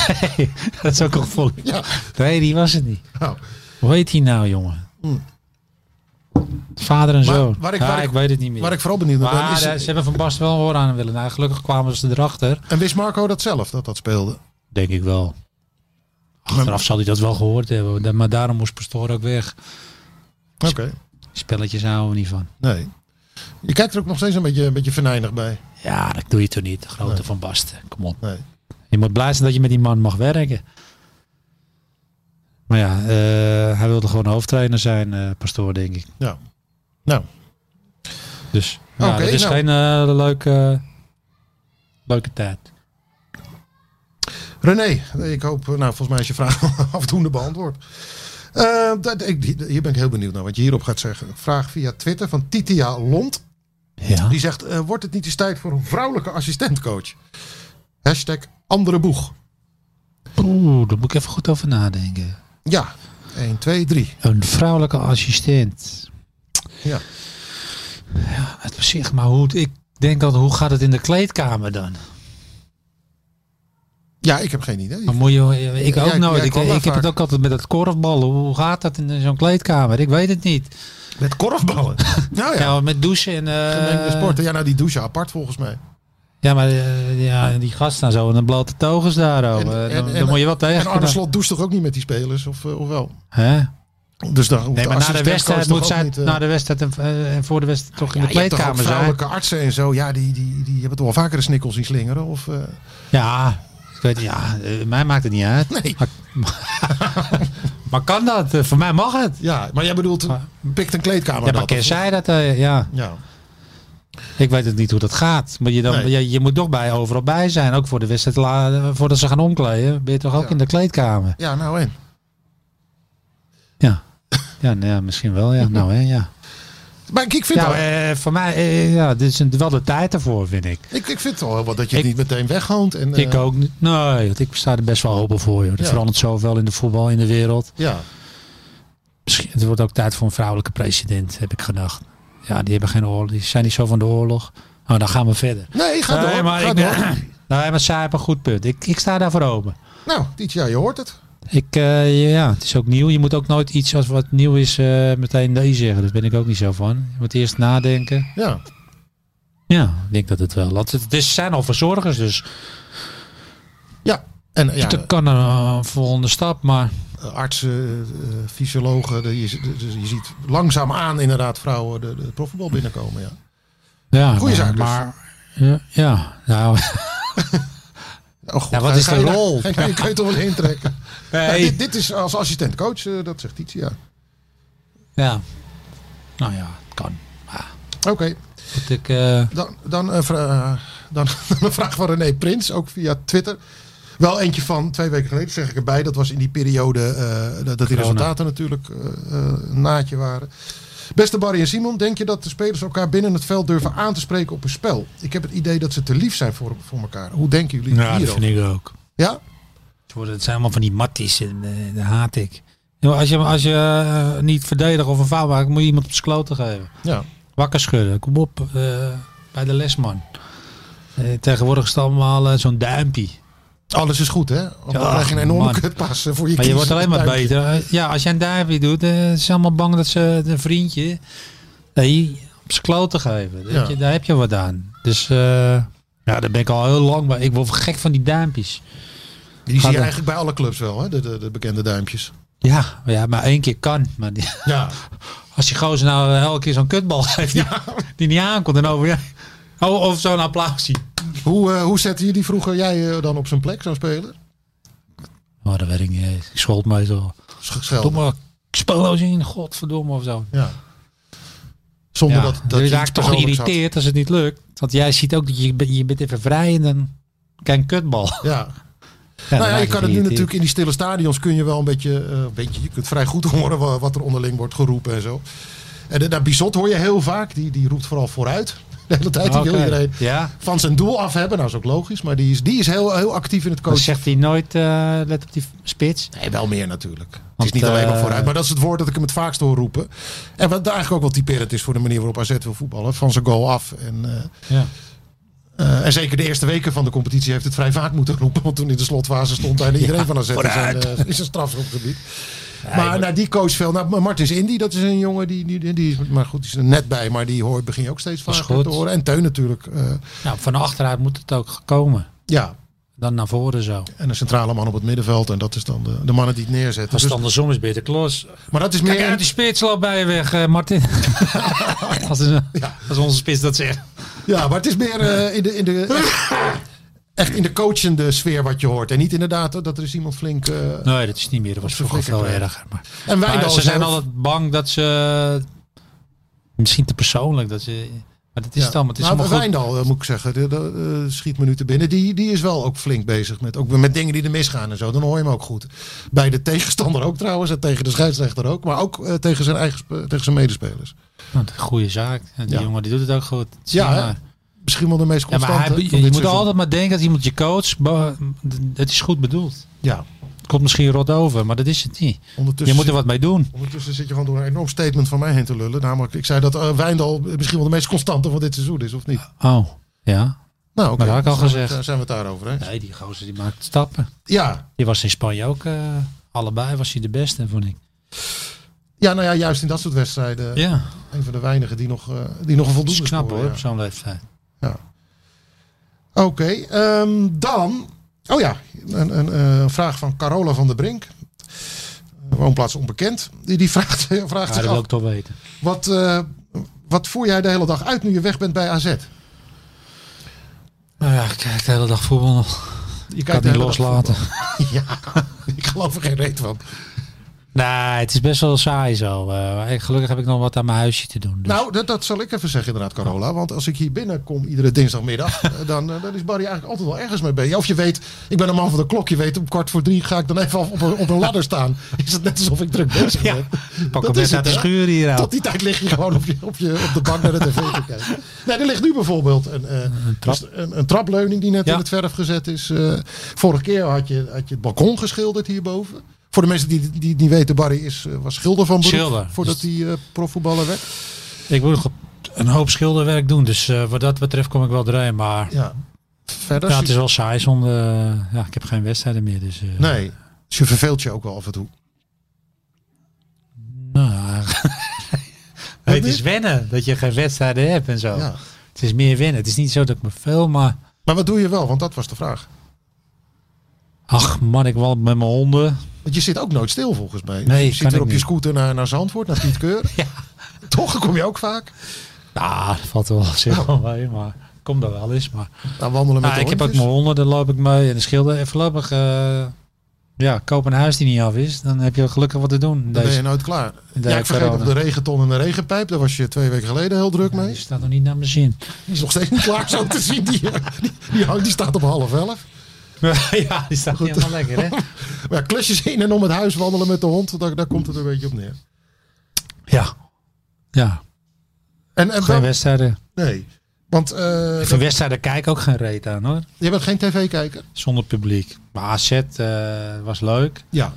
[SPEAKER 6] dat is ook al vol.
[SPEAKER 7] Ja.
[SPEAKER 6] Nee, die was het niet.
[SPEAKER 7] Nou,
[SPEAKER 6] Hoe heet die nou, jongen? Vader en
[SPEAKER 7] Hm. Maar
[SPEAKER 6] zoon.
[SPEAKER 7] waar ik-
[SPEAKER 6] ja,
[SPEAKER 7] waar
[SPEAKER 6] ik,
[SPEAKER 7] ik-
[SPEAKER 6] weet het niet meer.
[SPEAKER 7] waar ik vooral benieuwd naar ben
[SPEAKER 6] maar
[SPEAKER 7] is...
[SPEAKER 6] eh, ze hebben van Bast wel een oor aan willen. Nou, gelukkig kwamen ze erachter.
[SPEAKER 7] En wist Marco dat zelf, dat dat speelde?
[SPEAKER 6] Denk ik wel. Achteraf zal hij dat wel gehoord hebben. da- Maar daarom moest Pastoor ook weg.
[SPEAKER 7] Oké,
[SPEAKER 6] Spelletjes houden we niet van.
[SPEAKER 7] nee. Je kijkt er ook nog steeds een beetje, een beetje venijnig bij.
[SPEAKER 6] Ja, dat doe je toch niet. De grote van Basten. Kom op.
[SPEAKER 7] Nee.
[SPEAKER 6] Je moet blij zijn dat je met die man mag werken. Maar ja, eh, hij wilde gewoon hoofdtrainer zijn, eh, pastoor, denk ik.
[SPEAKER 7] Ja. Nou,
[SPEAKER 6] Dus ja,
[SPEAKER 7] Oké,
[SPEAKER 6] het is
[SPEAKER 7] nou.
[SPEAKER 6] geen eh, leuke, leuke tijd.
[SPEAKER 7] René, ik hoop, nou, volgens mij is je vraag <laughs> afdoende beantwoord. Eh, dat, ik, hier ben ik heel benieuwd naar wat je hierop gaat zeggen. Vraag via Twitter van Titia Lont.
[SPEAKER 6] Ja.
[SPEAKER 7] Die zegt, eh, wordt het niet eens tijd voor een vrouwelijke assistentcoach? Hashtag andere boeg.
[SPEAKER 6] Oeh, daar moet ik even goed over nadenken.
[SPEAKER 7] Ja, 1, 2, 3.
[SPEAKER 6] Een vrouwelijke assistent.
[SPEAKER 7] Ja.
[SPEAKER 6] Ja, het op zich, maar hoe, ik denk dat, hoe gaat het in de kleedkamer dan?
[SPEAKER 7] Ja, ik heb geen idee.
[SPEAKER 6] Oh, Maar moet je, ik ook
[SPEAKER 7] Jij- jij
[SPEAKER 6] nooit. Ik,
[SPEAKER 7] kwam daar
[SPEAKER 6] ik heb
[SPEAKER 7] vaak.
[SPEAKER 6] het ook altijd met het korfballen. Hoe gaat dat in zo'n kleedkamer? Ik weet het niet.
[SPEAKER 7] Met korfballen. nou
[SPEAKER 6] Ja,
[SPEAKER 7] ja,
[SPEAKER 6] met douchen en... eh, Oh
[SPEAKER 7] gemengde sporten. Ja, nou die douchen apart volgens mij.
[SPEAKER 6] Ja, maar eh, ja, die gasten en zo en een blote togens daarover.
[SPEAKER 7] En- en-
[SPEAKER 6] Eh, dan, dan
[SPEAKER 7] en-
[SPEAKER 6] moet je wel tegen.
[SPEAKER 7] En Arne Slot doucht toch ook niet met die spelers, of, eh, of wel?
[SPEAKER 6] Hè?
[SPEAKER 7] Dus daar hoeft
[SPEAKER 6] Nee, maar na de
[SPEAKER 7] assistentcoach
[SPEAKER 6] wedstrijd
[SPEAKER 7] toch
[SPEAKER 6] moet
[SPEAKER 7] ook
[SPEAKER 6] zij
[SPEAKER 7] niet, eh,
[SPEAKER 6] na de wedstrijd en, eh, en voor de wedstrijd toch in de
[SPEAKER 7] Ja, je hebt toch ook
[SPEAKER 6] kleedkamer zijn.
[SPEAKER 7] vrouwelijke artsen en zo, ja, die, die, die hebben toch wel vaker een snikkel zien slingeren? Of, eh,
[SPEAKER 6] Ja, ik weet, ja, eh, mij maakt het niet uit.
[SPEAKER 7] Nee.
[SPEAKER 6] Maar, maar <laughs> kan dat? Eh, Voor mij mag het.
[SPEAKER 7] ja, maar jij bedoelt, pikt een kleedkamer
[SPEAKER 6] Ja,
[SPEAKER 7] dat,
[SPEAKER 6] maar keer
[SPEAKER 7] of-
[SPEAKER 6] zij dat? eh, ja,
[SPEAKER 7] Ja,
[SPEAKER 6] ik weet het niet hoe dat gaat. Maar je, dan,
[SPEAKER 7] Nee.
[SPEAKER 6] je, je moet toch bij overal bij zijn. Ook voor de wedstrijd, la- voordat ze gaan omkleden, ben je toch ook
[SPEAKER 7] Ja.
[SPEAKER 6] in de kleedkamer.
[SPEAKER 7] ja, nou en.
[SPEAKER 6] Ja, ja, nou ja misschien
[SPEAKER 7] <laughs>
[SPEAKER 6] wel. Ja, nou hè, ja.
[SPEAKER 7] Maar ik, ik vind,
[SPEAKER 6] Ja,
[SPEAKER 7] wel,
[SPEAKER 6] eh, voor mij, eh, ja, dit is een, wel de tijd ervoor, vind ik.
[SPEAKER 7] ik, ik vind wel wat dat je het
[SPEAKER 6] ik-
[SPEAKER 7] niet meteen weghoont. En, eh,
[SPEAKER 6] ik ook niet. Nee, want ik sta er best wel open voor. Joh. Er
[SPEAKER 7] Ja.
[SPEAKER 6] verandert zoveel in de voetbal, in de wereld.
[SPEAKER 7] Ja,
[SPEAKER 6] Misschien, het wordt ook tijd voor een vrouwelijke president, heb ik gedacht. Ja, die hebben geen oorlog. Die zijn niet zo van de oorlog. Nou, dan gaan we verder.
[SPEAKER 7] nee, ga door.
[SPEAKER 6] maar
[SPEAKER 7] ga
[SPEAKER 6] ik
[SPEAKER 7] door.
[SPEAKER 6] <clears throat> Nee, maar zij hebben een goed punt. Ik, ik sta daarvoor open.
[SPEAKER 7] Nou, Tietja, je hoort het.
[SPEAKER 6] Ik, eh, ja, het is ook nieuw. Je moet ook nooit iets als wat nieuw is eh, meteen nee zeggen. Daar ben ik ook niet zo van. Je moet eerst nadenken.
[SPEAKER 7] Ja.
[SPEAKER 6] Ja, ik denk dat het wel. Want het, het is, zijn al verzorgers, dus
[SPEAKER 7] Ja, en ja,
[SPEAKER 6] het kan een eh, volgende stap. Maar
[SPEAKER 7] eh, artsen, eh, fysiologen, de- je, z- de- de- je ziet langzaamaan inderdaad vrouwen de, de profvoetbal binnenkomen. Ja.
[SPEAKER 6] Hm. ja,
[SPEAKER 7] Goeie
[SPEAKER 6] maar,
[SPEAKER 7] zaak dus.
[SPEAKER 6] maar- ja, ja, nou, <laughs>
[SPEAKER 7] Oh, god,
[SPEAKER 6] Ja, wat
[SPEAKER 7] ga-
[SPEAKER 6] is
[SPEAKER 7] ga
[SPEAKER 6] de
[SPEAKER 7] je daar-
[SPEAKER 6] rol?
[SPEAKER 7] ga je- Je kan je toch wel intrekken. Ja,
[SPEAKER 6] nee.
[SPEAKER 7] dit, dit is als assistentcoach, eh, dat zegt Tietja.
[SPEAKER 6] ja. Nou ja, het kan.
[SPEAKER 7] Oké,
[SPEAKER 6] Moet ik, eh,
[SPEAKER 7] dan, dan, een vra- eh, dan <laughs> een vraag van René Prins, ook via Twitter. Wel eentje van twee weken geleden, zeg ik erbij. Dat was in die periode eh, dat, dat die
[SPEAKER 6] Corona.
[SPEAKER 7] resultaten natuurlijk eh, eh, een naadje waren. Beste Barry en Simon, denk je dat de spelers elkaar binnen het veld durven aan te spreken op een spel? Ik heb het idee dat ze te lief zijn voor, voor elkaar. Hoe denken jullie
[SPEAKER 6] Ja, dat
[SPEAKER 7] hierover?
[SPEAKER 6] vind ik ook.
[SPEAKER 7] Ja?
[SPEAKER 6] Het worden- Het zijn allemaal van die matties en eh, dat haat ik. Joh, Als je, als je eh, niet verdedigt of een fout maakt, moet je iemand op zijn kloten geven.
[SPEAKER 7] Ja.
[SPEAKER 6] Wakker schudden, kom op eh, bij de lesman. Eh, tegenwoordig is het allemaal eh, zo'n duimpie.
[SPEAKER 7] Alles is goed, hè? Want dan
[SPEAKER 6] Ja,
[SPEAKER 7] krijg je een enorme
[SPEAKER 6] man.
[SPEAKER 7] kutpas eh, voor je
[SPEAKER 6] Maar je
[SPEAKER 7] kies.
[SPEAKER 6] wordt alleen maar beter. Eh, Ja, als jij een duimpje doet, eh, ze zijn allemaal bang dat ze eh, een vriendje nee, op zijn kloten geven. Dat
[SPEAKER 7] Ja.
[SPEAKER 6] je- daar heb je wat aan. Dus eh, ja, daar ben ik al heel lang bij. Ik word gek van die duimpjes.
[SPEAKER 7] Die zie
[SPEAKER 6] Gaat
[SPEAKER 7] je
[SPEAKER 6] er-
[SPEAKER 7] eigenlijk bij alle clubs wel, hè? De, de, de bekende duimpjes.
[SPEAKER 6] Ja, maar ja, maar één keer kan. Maar die- <laughs>
[SPEAKER 7] Ja.
[SPEAKER 6] als die gozer nou eh, elke keer zo'n kutbal <laughs> geeft die, die niet aankomt en over... Oh, of zo'n applausje.
[SPEAKER 7] Hoe, eh, hoe zette je die vroeger jij eh, dan op zijn plek, zo'n speler?
[SPEAKER 6] Maar Oh, dat weet ik niet. eens. Ik schold meestal. Doe
[SPEAKER 7] Schelden.
[SPEAKER 6] maar speelloos in, godverdomme of zo.
[SPEAKER 7] Ja. Zonder
[SPEAKER 6] ja,
[SPEAKER 7] dat, dat
[SPEAKER 6] je
[SPEAKER 7] iets
[SPEAKER 6] raakt toch
[SPEAKER 7] persoonlijks had.
[SPEAKER 6] geïrriteerd als het niet lukt. Want jij ziet ook dat je, bent- je bent even vrij en dan kijk een
[SPEAKER 7] <laughs>
[SPEAKER 6] kutbal. Ja,
[SPEAKER 7] Ja.
[SPEAKER 6] dan
[SPEAKER 7] nou ja, je kan het
[SPEAKER 6] raak
[SPEAKER 7] nu
[SPEAKER 6] geïrriteerd.
[SPEAKER 7] natuurlijk in die stille stadions kun je wel een beetje, eh, een beetje je kunt vrij goed <laughs> horen wa- wat er onderling wordt geroepen en zo. En de- nou, Bizot hoor je heel vaak, die, die roept vooral vooruit. <laughs> De hele tijd die wil
[SPEAKER 6] Oké.
[SPEAKER 7] iedereen
[SPEAKER 6] Ja,
[SPEAKER 7] van zijn doel af hebben. Nou, is ook logisch, maar die is, die is heel, heel actief in het
[SPEAKER 6] dan
[SPEAKER 7] coachen.
[SPEAKER 6] zegt hij nooit, eh, let op die spits.
[SPEAKER 7] Nee, wel meer natuurlijk. het is
[SPEAKER 6] Want,
[SPEAKER 7] niet alleen maar
[SPEAKER 6] eh,
[SPEAKER 7] vooruit, maar dat is het woord dat ik hem het vaakst hoor roepen. En wat eigenlijk ook wel typerend is voor de manier waarop AZ wil voetballen. Van zijn goal af. En, eh,
[SPEAKER 6] Ja.
[SPEAKER 7] eh, en zeker de eerste weken van de competitie heeft het vrij vaak moeten roepen. Want toen in de slotfase stond
[SPEAKER 6] <laughs>
[SPEAKER 7] bijna iedereen van AZ in zijn, eh, in zijn strafschopgebied. maar naar die coach veel. Nou, maar Martins Indy, dat is een jongen die, die, die, die is- Maar goed, die is er net bij. Maar die hoor, begin je ook steeds
[SPEAKER 6] is
[SPEAKER 7] vaker te
[SPEAKER 6] goed.
[SPEAKER 7] horen. En Teun natuurlijk. eh,
[SPEAKER 6] Nou, van achteruit moet het ook komen.
[SPEAKER 7] ja,
[SPEAKER 6] Dan naar voren zo.
[SPEAKER 7] en een centrale man op het middenveld. En dat is dan de, de mannen die het neerzetten.
[SPEAKER 6] Als
[SPEAKER 7] Dus-
[SPEAKER 6] het andersom is, beter klos.
[SPEAKER 7] maar dat is
[SPEAKER 6] Kijk
[SPEAKER 7] meer...
[SPEAKER 6] uit, die spits loopt bij je weg,
[SPEAKER 7] <laughs>
[SPEAKER 6] eh, Martin. als, een- als onze spits dat zegt.
[SPEAKER 7] Ja, maar het is meer eh, in de. In de echt, echt in de coachende sfeer wat je hoort. En niet inderdaad dat er is iemand flink. eh,
[SPEAKER 6] Nee, dat is niet meer. Dat was
[SPEAKER 7] Op zijn
[SPEAKER 6] vroeger veel
[SPEAKER 7] flikker, ja.
[SPEAKER 6] erger. Maar,
[SPEAKER 7] en wij
[SPEAKER 6] maar ze zijn altijd bang dat ze... Misschien te persoonlijk. Dat ze, maar dat is het allemaal. Het is
[SPEAKER 7] nou,
[SPEAKER 6] allemaal goed.
[SPEAKER 7] Wijndal, eh, moet ik zeggen, de, de, eh, schiet me nu te binnen. Die, die is wel ook flink bezig met, ook met dingen die er misgaan en zo. Dan hoor je hem ook goed. Bij de tegenstander ook trouwens, en tegen de scheidsrechter ook. Maar ook eh, tegen, zijn eigen, sp- tegen zijn medespelers.
[SPEAKER 6] Nou, dat is een Goede zaak. En die
[SPEAKER 7] Ja.
[SPEAKER 6] jongen die doet het ook goed. Het is
[SPEAKER 7] Ja,
[SPEAKER 6] niet
[SPEAKER 7] hè?
[SPEAKER 6] waar.
[SPEAKER 7] Misschien wel de meest
[SPEAKER 6] ja
[SPEAKER 7] constante.
[SPEAKER 6] maar hij,
[SPEAKER 7] van
[SPEAKER 6] je
[SPEAKER 7] dit
[SPEAKER 6] moet
[SPEAKER 7] seizoen.
[SPEAKER 6] altijd maar denken dat iemand je coach... bo- Het is goed bedoeld.
[SPEAKER 7] Ja,
[SPEAKER 6] Het komt misschien rot over, maar dat is het niet. Je
[SPEAKER 7] ondertussen
[SPEAKER 6] moet er wat mee doen.
[SPEAKER 7] Ondertussen zit je gewoon door een enorm statement van mij heen te lullen. Namelijk, ik zei dat eh, Wijndal misschien wel de meest constante van dit seizoen is, of niet?
[SPEAKER 6] Oh, ja.
[SPEAKER 7] Nou, oké.
[SPEAKER 6] Maar dat had ik
[SPEAKER 7] Dan zijn
[SPEAKER 6] al
[SPEAKER 7] we
[SPEAKER 6] gezegd.
[SPEAKER 7] het- Zijn we het daarover, hè?
[SPEAKER 6] Nee, die gozer die maakt stappen.
[SPEAKER 7] Ja.
[SPEAKER 6] Die was in Spanje ook... eh, allebei was hij de beste, vond ik.
[SPEAKER 7] ja, nou ja, juist in dat soort wedstrijden.
[SPEAKER 6] Ja,
[SPEAKER 7] Een van de weinigen die nog, eh, die nog een
[SPEAKER 6] dat is
[SPEAKER 7] voldoende
[SPEAKER 6] knap
[SPEAKER 7] scoren,
[SPEAKER 6] hoor,
[SPEAKER 7] ja.
[SPEAKER 6] op zo'n leeftijd.
[SPEAKER 7] Oké, ehm, dan... Oh ja, een, een, eh, vraag van Carola van der Brink. Eh, Woonplaats onbekend. Die, die vraagt, <laughs> vraagt
[SPEAKER 6] Ja, dat
[SPEAKER 7] zich
[SPEAKER 6] wil
[SPEAKER 7] af,
[SPEAKER 6] ik toch weten.
[SPEAKER 7] wat, eh, wat voer jij de hele dag uit nu je weg bent bij AZ?
[SPEAKER 6] Nou ja, ik kijk de hele dag voetbal nog.
[SPEAKER 7] Je
[SPEAKER 6] Ik kan het niet loslaten.
[SPEAKER 7] <laughs> Ja, ik geloof er geen reet van.
[SPEAKER 6] Nee, het is best wel saai zo. Eh, ik- gelukkig heb ik nog wat aan mijn huisje te doen. Dus. Oh.
[SPEAKER 7] Nou, dat, dat zal ik even zeggen inderdaad, Carola. Want als ik hier binnenkom iedere
[SPEAKER 6] <laughs>
[SPEAKER 7] dinsdagmiddag, eh, dan, eh, dan is Barry eigenlijk altijd wel ergens mee bezig. Of je weet, ik ben een man van de klok. Je weet, om kwart voor drie ga ik dan even af op, een- op een
[SPEAKER 6] <laughs>
[SPEAKER 7] ladder staan. Is het net alsof ik druk bezig ben.
[SPEAKER 6] pak hem
[SPEAKER 7] dat is
[SPEAKER 6] net uit
[SPEAKER 7] het,
[SPEAKER 6] de
[SPEAKER 7] hè?
[SPEAKER 6] schuur hier.
[SPEAKER 7] Tot
[SPEAKER 6] Tot
[SPEAKER 7] die tijd lig je gewoon op, je, op, je, op de bank naar de tv te kijken. Nee, er ligt nu bijvoorbeeld een, eh,
[SPEAKER 6] trap.
[SPEAKER 7] een, een trapleuning die net
[SPEAKER 6] Ja.
[SPEAKER 7] in het verf gezet is. Eh, vorige keer had je, had je het balkon geschilderd hierboven. Voor de mensen die die het niet weten, Barry is, eh, was schilder van beroep.
[SPEAKER 6] Schilder. Dus
[SPEAKER 7] Voordat hij eh, profvoetballer werd.
[SPEAKER 6] Ik moet nog een hoop schilderwerk doen, dus eh, wat dat betreft kom ik wel erin. Maar
[SPEAKER 7] Ja. Verder?
[SPEAKER 6] ja, het is wel saai zonder... eh, ja, ik heb geen wedstrijden meer, dus... eh,
[SPEAKER 7] Nee. Dus je verveelt je ook wel af en toe.
[SPEAKER 6] nou, ja. <laughs> Nee, het is
[SPEAKER 7] niet?
[SPEAKER 6] wennen dat je geen wedstrijden hebt en zo.
[SPEAKER 7] Ja.
[SPEAKER 6] Het is meer wennen. Het is niet zo dat ik me veel, maar...
[SPEAKER 7] Maar wat doe je wel? Want dat was de vraag.
[SPEAKER 6] Ach man, ik wandel met mijn honden.
[SPEAKER 7] Want je zit ook nooit stil volgens mij.
[SPEAKER 6] Nee,
[SPEAKER 7] je
[SPEAKER 6] kan
[SPEAKER 7] zit er
[SPEAKER 6] ik
[SPEAKER 7] op je
[SPEAKER 6] niet.
[SPEAKER 7] scooter naar, naar Zandvoort, naar Pietkeur.
[SPEAKER 6] <laughs> Ja.
[SPEAKER 7] Toch, dan kom je ook vaak.
[SPEAKER 6] Nou, dat valt wel zich wel mee, maar ik kom daar wel eens. Maar
[SPEAKER 7] Nou, wandelen met
[SPEAKER 6] Ah,
[SPEAKER 7] de
[SPEAKER 6] ik heb ook
[SPEAKER 7] hondjes.
[SPEAKER 6] mijn honden, daar loop ik mee. En de schilder. En voorlopig, eh, ja, koop een huis die niet af is. Dan heb je gelukkig wat te doen. in
[SPEAKER 7] Dan ben
[SPEAKER 6] deze-
[SPEAKER 7] je nooit klaar.
[SPEAKER 6] in
[SPEAKER 7] Ja,
[SPEAKER 6] deze
[SPEAKER 7] ik vergeet
[SPEAKER 6] corona.
[SPEAKER 7] op de regenton en de regenpijp. Daar was je twee weken geleden heel druk
[SPEAKER 6] Die
[SPEAKER 7] mee.
[SPEAKER 6] staat nog niet naar mijn zin. <laughs>
[SPEAKER 7] Die is nog steeds niet klaar zo te zien. Die, die, die, hangt- die staat op half elf.
[SPEAKER 6] ja, die staat niet helemaal lekker, hè?
[SPEAKER 7] Maar ja, klusjes in en om het huis wandelen met de hond. Daar, daar komt het een beetje op neer.
[SPEAKER 6] Ja. Ja,
[SPEAKER 7] En, en
[SPEAKER 6] geen
[SPEAKER 7] dan-
[SPEAKER 6] wedstrijden.
[SPEAKER 7] nee. Want eh,
[SPEAKER 6] Geen wedstrijden kijk ook geen reet aan hoor.
[SPEAKER 7] je bent geen tv-kijker.
[SPEAKER 6] Zonder publiek. Maar AZ eh, was leuk.
[SPEAKER 7] Ja.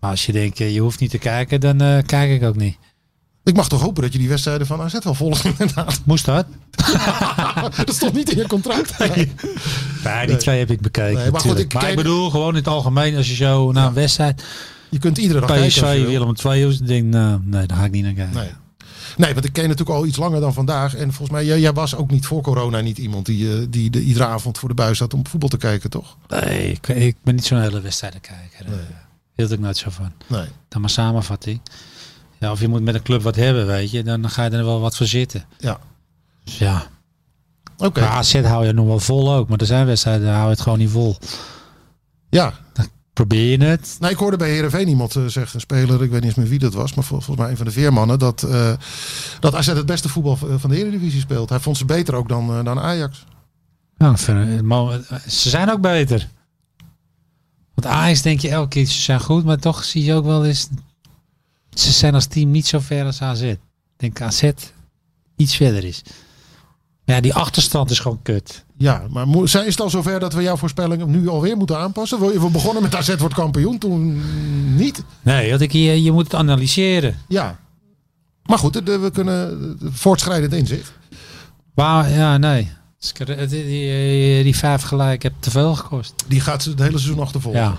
[SPEAKER 6] Maar als je denkt, eh, je hoeft niet te kijken, dan eh, kijk ik ook niet.
[SPEAKER 7] Ik mag toch hopen dat je die wedstrijden van AZ wel volgt <laughs> inderdaad.
[SPEAKER 6] Moest dat?
[SPEAKER 7] Dat stond niet in je contract. Nee.
[SPEAKER 6] Nee, die twee heb ik bekeken
[SPEAKER 7] Nee, maar goed,
[SPEAKER 6] natuurlijk.
[SPEAKER 7] ik
[SPEAKER 6] maar ik
[SPEAKER 7] kijk-
[SPEAKER 6] bedoel, gewoon in het algemeen, als je zo naar een wedstrijd...
[SPEAKER 7] Je kunt iedere dag kijken. als je
[SPEAKER 6] PSV,
[SPEAKER 7] wil.
[SPEAKER 6] Willem II, is, dan denk ik, nou, nee, daar ga ik niet naar kijken.
[SPEAKER 7] Nee. Nee, want ik ken je natuurlijk al iets langer dan vandaag. En volgens mij, jij, jij was ook niet voor corona niet iemand die, eh, die de, iedere avond voor de buis zat om voetbal te kijken, toch?
[SPEAKER 6] Nee, ik, ik ben niet zo'n hele wedstrijdenkijker. kijker. eh. Hield ik nooit zo van.
[SPEAKER 7] Nee.
[SPEAKER 6] Dan maar samenvatting. Ja, of je moet met een club wat hebben, weet je. Dan ga je er wel wat voor zitten.
[SPEAKER 7] Ja.
[SPEAKER 6] Dus ja.
[SPEAKER 7] Oké.
[SPEAKER 6] Maar AZ hou je nog wel vol ook. Maar er zijn wedstrijden, daar hou je het gewoon niet vol.
[SPEAKER 7] Ja.
[SPEAKER 6] Probeer je het.
[SPEAKER 7] Nou, ik hoorde bij Heerenveen iemand eh, zeggen, een speler, ik weet niet eens meer wie dat was, maar vol- volgens mij een van de veermannen, dat, eh dat AZ het beste voetbal v- van de Eredivisie speelt. Hij vond ze beter ook dan, eh, dan Ajax.
[SPEAKER 6] Ja, ik vind het- maar ze zijn ook beter. Want Ajax denk je elke keer, ze zijn goed. Maar toch zie je ook wel eens... Ze zijn als team niet zo ver als AZ. Ik denk AZ iets verder is. Maar ja, die achterstand is gewoon kut.
[SPEAKER 7] Ja, maar mo- zijn- is het al zover dat we jouw voorspellingen nu alweer moeten aanpassen? We we begonnen met AZ wordt kampioen, toen niet.
[SPEAKER 6] Nee, want ik, je, je moet het analyseren.
[SPEAKER 7] Ja. Maar goed, de- we kunnen eh, voortschrijdend inzicht.
[SPEAKER 6] Waar, ja, nee. Dus ik- het- Die, die, die vijf gelijk heb te veel gekost.
[SPEAKER 7] Die gaat ze het hele seizoen achtervolgen.
[SPEAKER 6] Ja,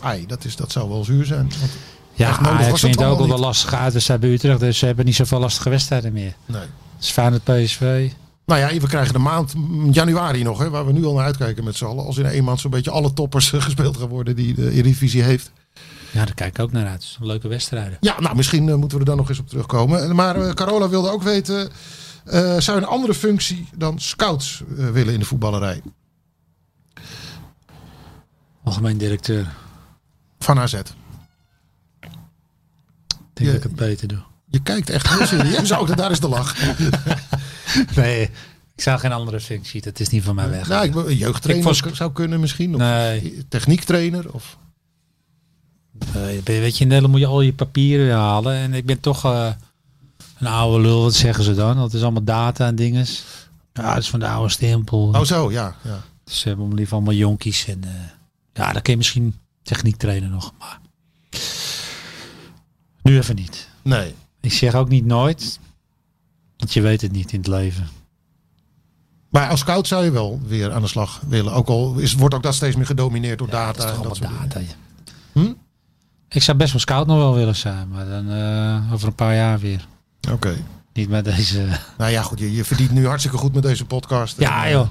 [SPEAKER 7] Ai, dat, is, dat zou wel zuur zijn. Want,
[SPEAKER 6] ja
[SPEAKER 7] Echt nodig
[SPEAKER 6] Ajax
[SPEAKER 7] was het
[SPEAKER 6] vindt ook
[SPEAKER 7] allemaal
[SPEAKER 6] al de
[SPEAKER 7] niet.
[SPEAKER 6] lastige uitwedstrijd bij Utrecht. Dus ze hebben niet zoveel lastige wedstrijden meer.
[SPEAKER 7] nee.
[SPEAKER 6] Dus Feyenoord PSV.
[SPEAKER 7] Nou ja, we krijgen de maand mm, januari nog, hè, waar we nu al naar uitkijken met z'n allen. Als in één maand zo'n beetje alle toppers eh, <laughs> gespeeld gaan worden die de Eredivisie heeft.
[SPEAKER 6] Ja, daar kijk ik ook naar uit. Het is een leuke wedstrijden.
[SPEAKER 7] Ja, nou misschien eh, moeten we er dan nog eens op terugkomen. Eh, Maar eh, Carola wilde ook weten, eh, zou je een andere functie dan scouts eh, willen in de voetballerij?
[SPEAKER 6] Algemeen directeur. Ik
[SPEAKER 7] Van AZ.
[SPEAKER 6] denk
[SPEAKER 7] Ja.
[SPEAKER 6] dat ik het beter doe.
[SPEAKER 7] Je kijkt echt heel serieus ook, daar is de lach.
[SPEAKER 6] Nee, ik zou geen andere functie. Dat is niet van mij weg.
[SPEAKER 7] Nou, ik, ben- jeugdtrainer
[SPEAKER 6] Ik was-
[SPEAKER 7] zou kunnen misschien. Of
[SPEAKER 6] Nee.
[SPEAKER 7] Techniektrainer. Of,
[SPEAKER 6] Nee, ben- weet je, in Nederland moet je al je papieren weer halen. En ik ben toch eh, een oude lul, wat zeggen ze dan? Dat is allemaal data en dinges. Ja, dat is van de oude stempel.
[SPEAKER 7] oh zo, ja. ja.
[SPEAKER 6] Ze hebben hem liever allemaal jonkies. En, eh, ja, dan kun je misschien techniek trainen nog. Maar nu even niet.
[SPEAKER 7] Nee.
[SPEAKER 6] Ik zeg ook niet nooit. Want je weet het niet in het leven.
[SPEAKER 7] Maar als scout zou je wel weer aan de slag willen. Ook al is, wordt ook dat steeds meer gedomineerd door
[SPEAKER 6] Dat is
[SPEAKER 7] data.
[SPEAKER 6] toch
[SPEAKER 7] en
[SPEAKER 6] allemaal
[SPEAKER 7] dat soort dingen.
[SPEAKER 6] data. ja.
[SPEAKER 7] Hm?
[SPEAKER 6] Ik zou best wel scout nog wel willen zijn. Maar dan eh, over een paar jaar weer.
[SPEAKER 7] Oké.
[SPEAKER 6] Niet met deze...
[SPEAKER 7] <laughs> Nou ja, goed. Je, je verdient nu hartstikke goed met deze podcast.
[SPEAKER 6] ja
[SPEAKER 7] En,
[SPEAKER 6] joh.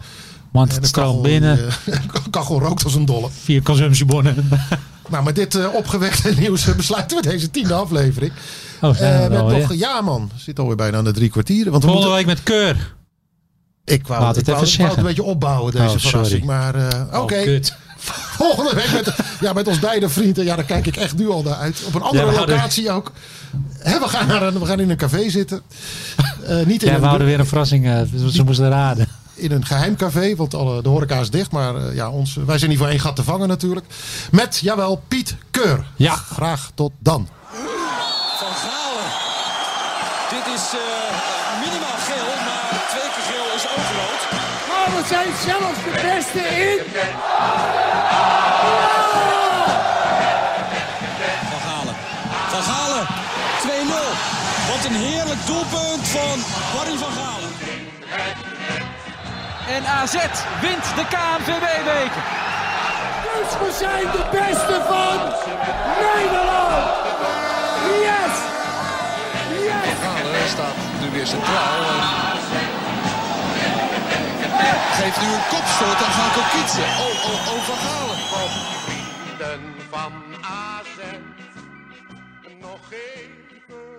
[SPEAKER 6] Want
[SPEAKER 7] en
[SPEAKER 6] het
[SPEAKER 7] de
[SPEAKER 6] stroomt
[SPEAKER 7] kachel,
[SPEAKER 6] binnen.
[SPEAKER 7] eh, <laughs> kachel rookt als een dolle.
[SPEAKER 6] Vier consumptiebonnen. <laughs> Oh,
[SPEAKER 7] Nou, met dit eh, opgewekte <laughs> nieuws eh, besluiten we deze tiende aflevering.
[SPEAKER 6] Oh,
[SPEAKER 7] Eh,
[SPEAKER 6] zijn we
[SPEAKER 7] we
[SPEAKER 6] wel
[SPEAKER 7] hebben
[SPEAKER 6] weer.
[SPEAKER 7] nog, ja man, zit alweer bijna aan de drie kwartieren. Want we
[SPEAKER 6] Volgende
[SPEAKER 7] moeten,
[SPEAKER 6] week met Keur.
[SPEAKER 7] ik wou,
[SPEAKER 6] Laat
[SPEAKER 7] ik wou,
[SPEAKER 6] het even
[SPEAKER 7] ik wou het
[SPEAKER 6] zeggen.
[SPEAKER 7] een beetje opbouwen, deze
[SPEAKER 6] Oh, sorry.
[SPEAKER 7] verrassing. Maar eh, oké,
[SPEAKER 6] Oh, kut.
[SPEAKER 7] <laughs> Volgende week met, ja, met ons beide vrienden. Ja, daar kijk ik echt nu al naar uit. Op een andere
[SPEAKER 6] Ja, we houden-
[SPEAKER 7] locatie ook. Hè, we, gaan naar een, we gaan in een café zitten. Eh, niet in,
[SPEAKER 6] Ja, we houden
[SPEAKER 7] een,
[SPEAKER 6] weer een verrassing. eh, dus ze moesten raden.
[SPEAKER 7] in een geheim café, want alle, de horeca is dicht. Maar eh, ja, ons, wij zijn niet voor één gat te vangen natuurlijk. Met, jawel, Piet Keur.
[SPEAKER 6] Ja.
[SPEAKER 7] Graag tot dan.
[SPEAKER 1] Van Galen. Dit is eh, minimaal geel, maar twee keer geel is ook rood.
[SPEAKER 2] Maar Oh, we zijn zelfs de beste in.
[SPEAKER 1] Van Galen. Van Galen. 2-0. Wat een heerlijk doelpunt van Barry van Galen.
[SPEAKER 3] En AZ wint de KNVB-beker.
[SPEAKER 2] Dus we zijn de beste van Nederland. Yes. Yes.
[SPEAKER 4] Galen staat nu weer centraal. en Geeft nu een kopstoot aan Gaan Kokitsen. Oh, oh, oh, Van Galen.
[SPEAKER 5] vrienden van AZ. Nog even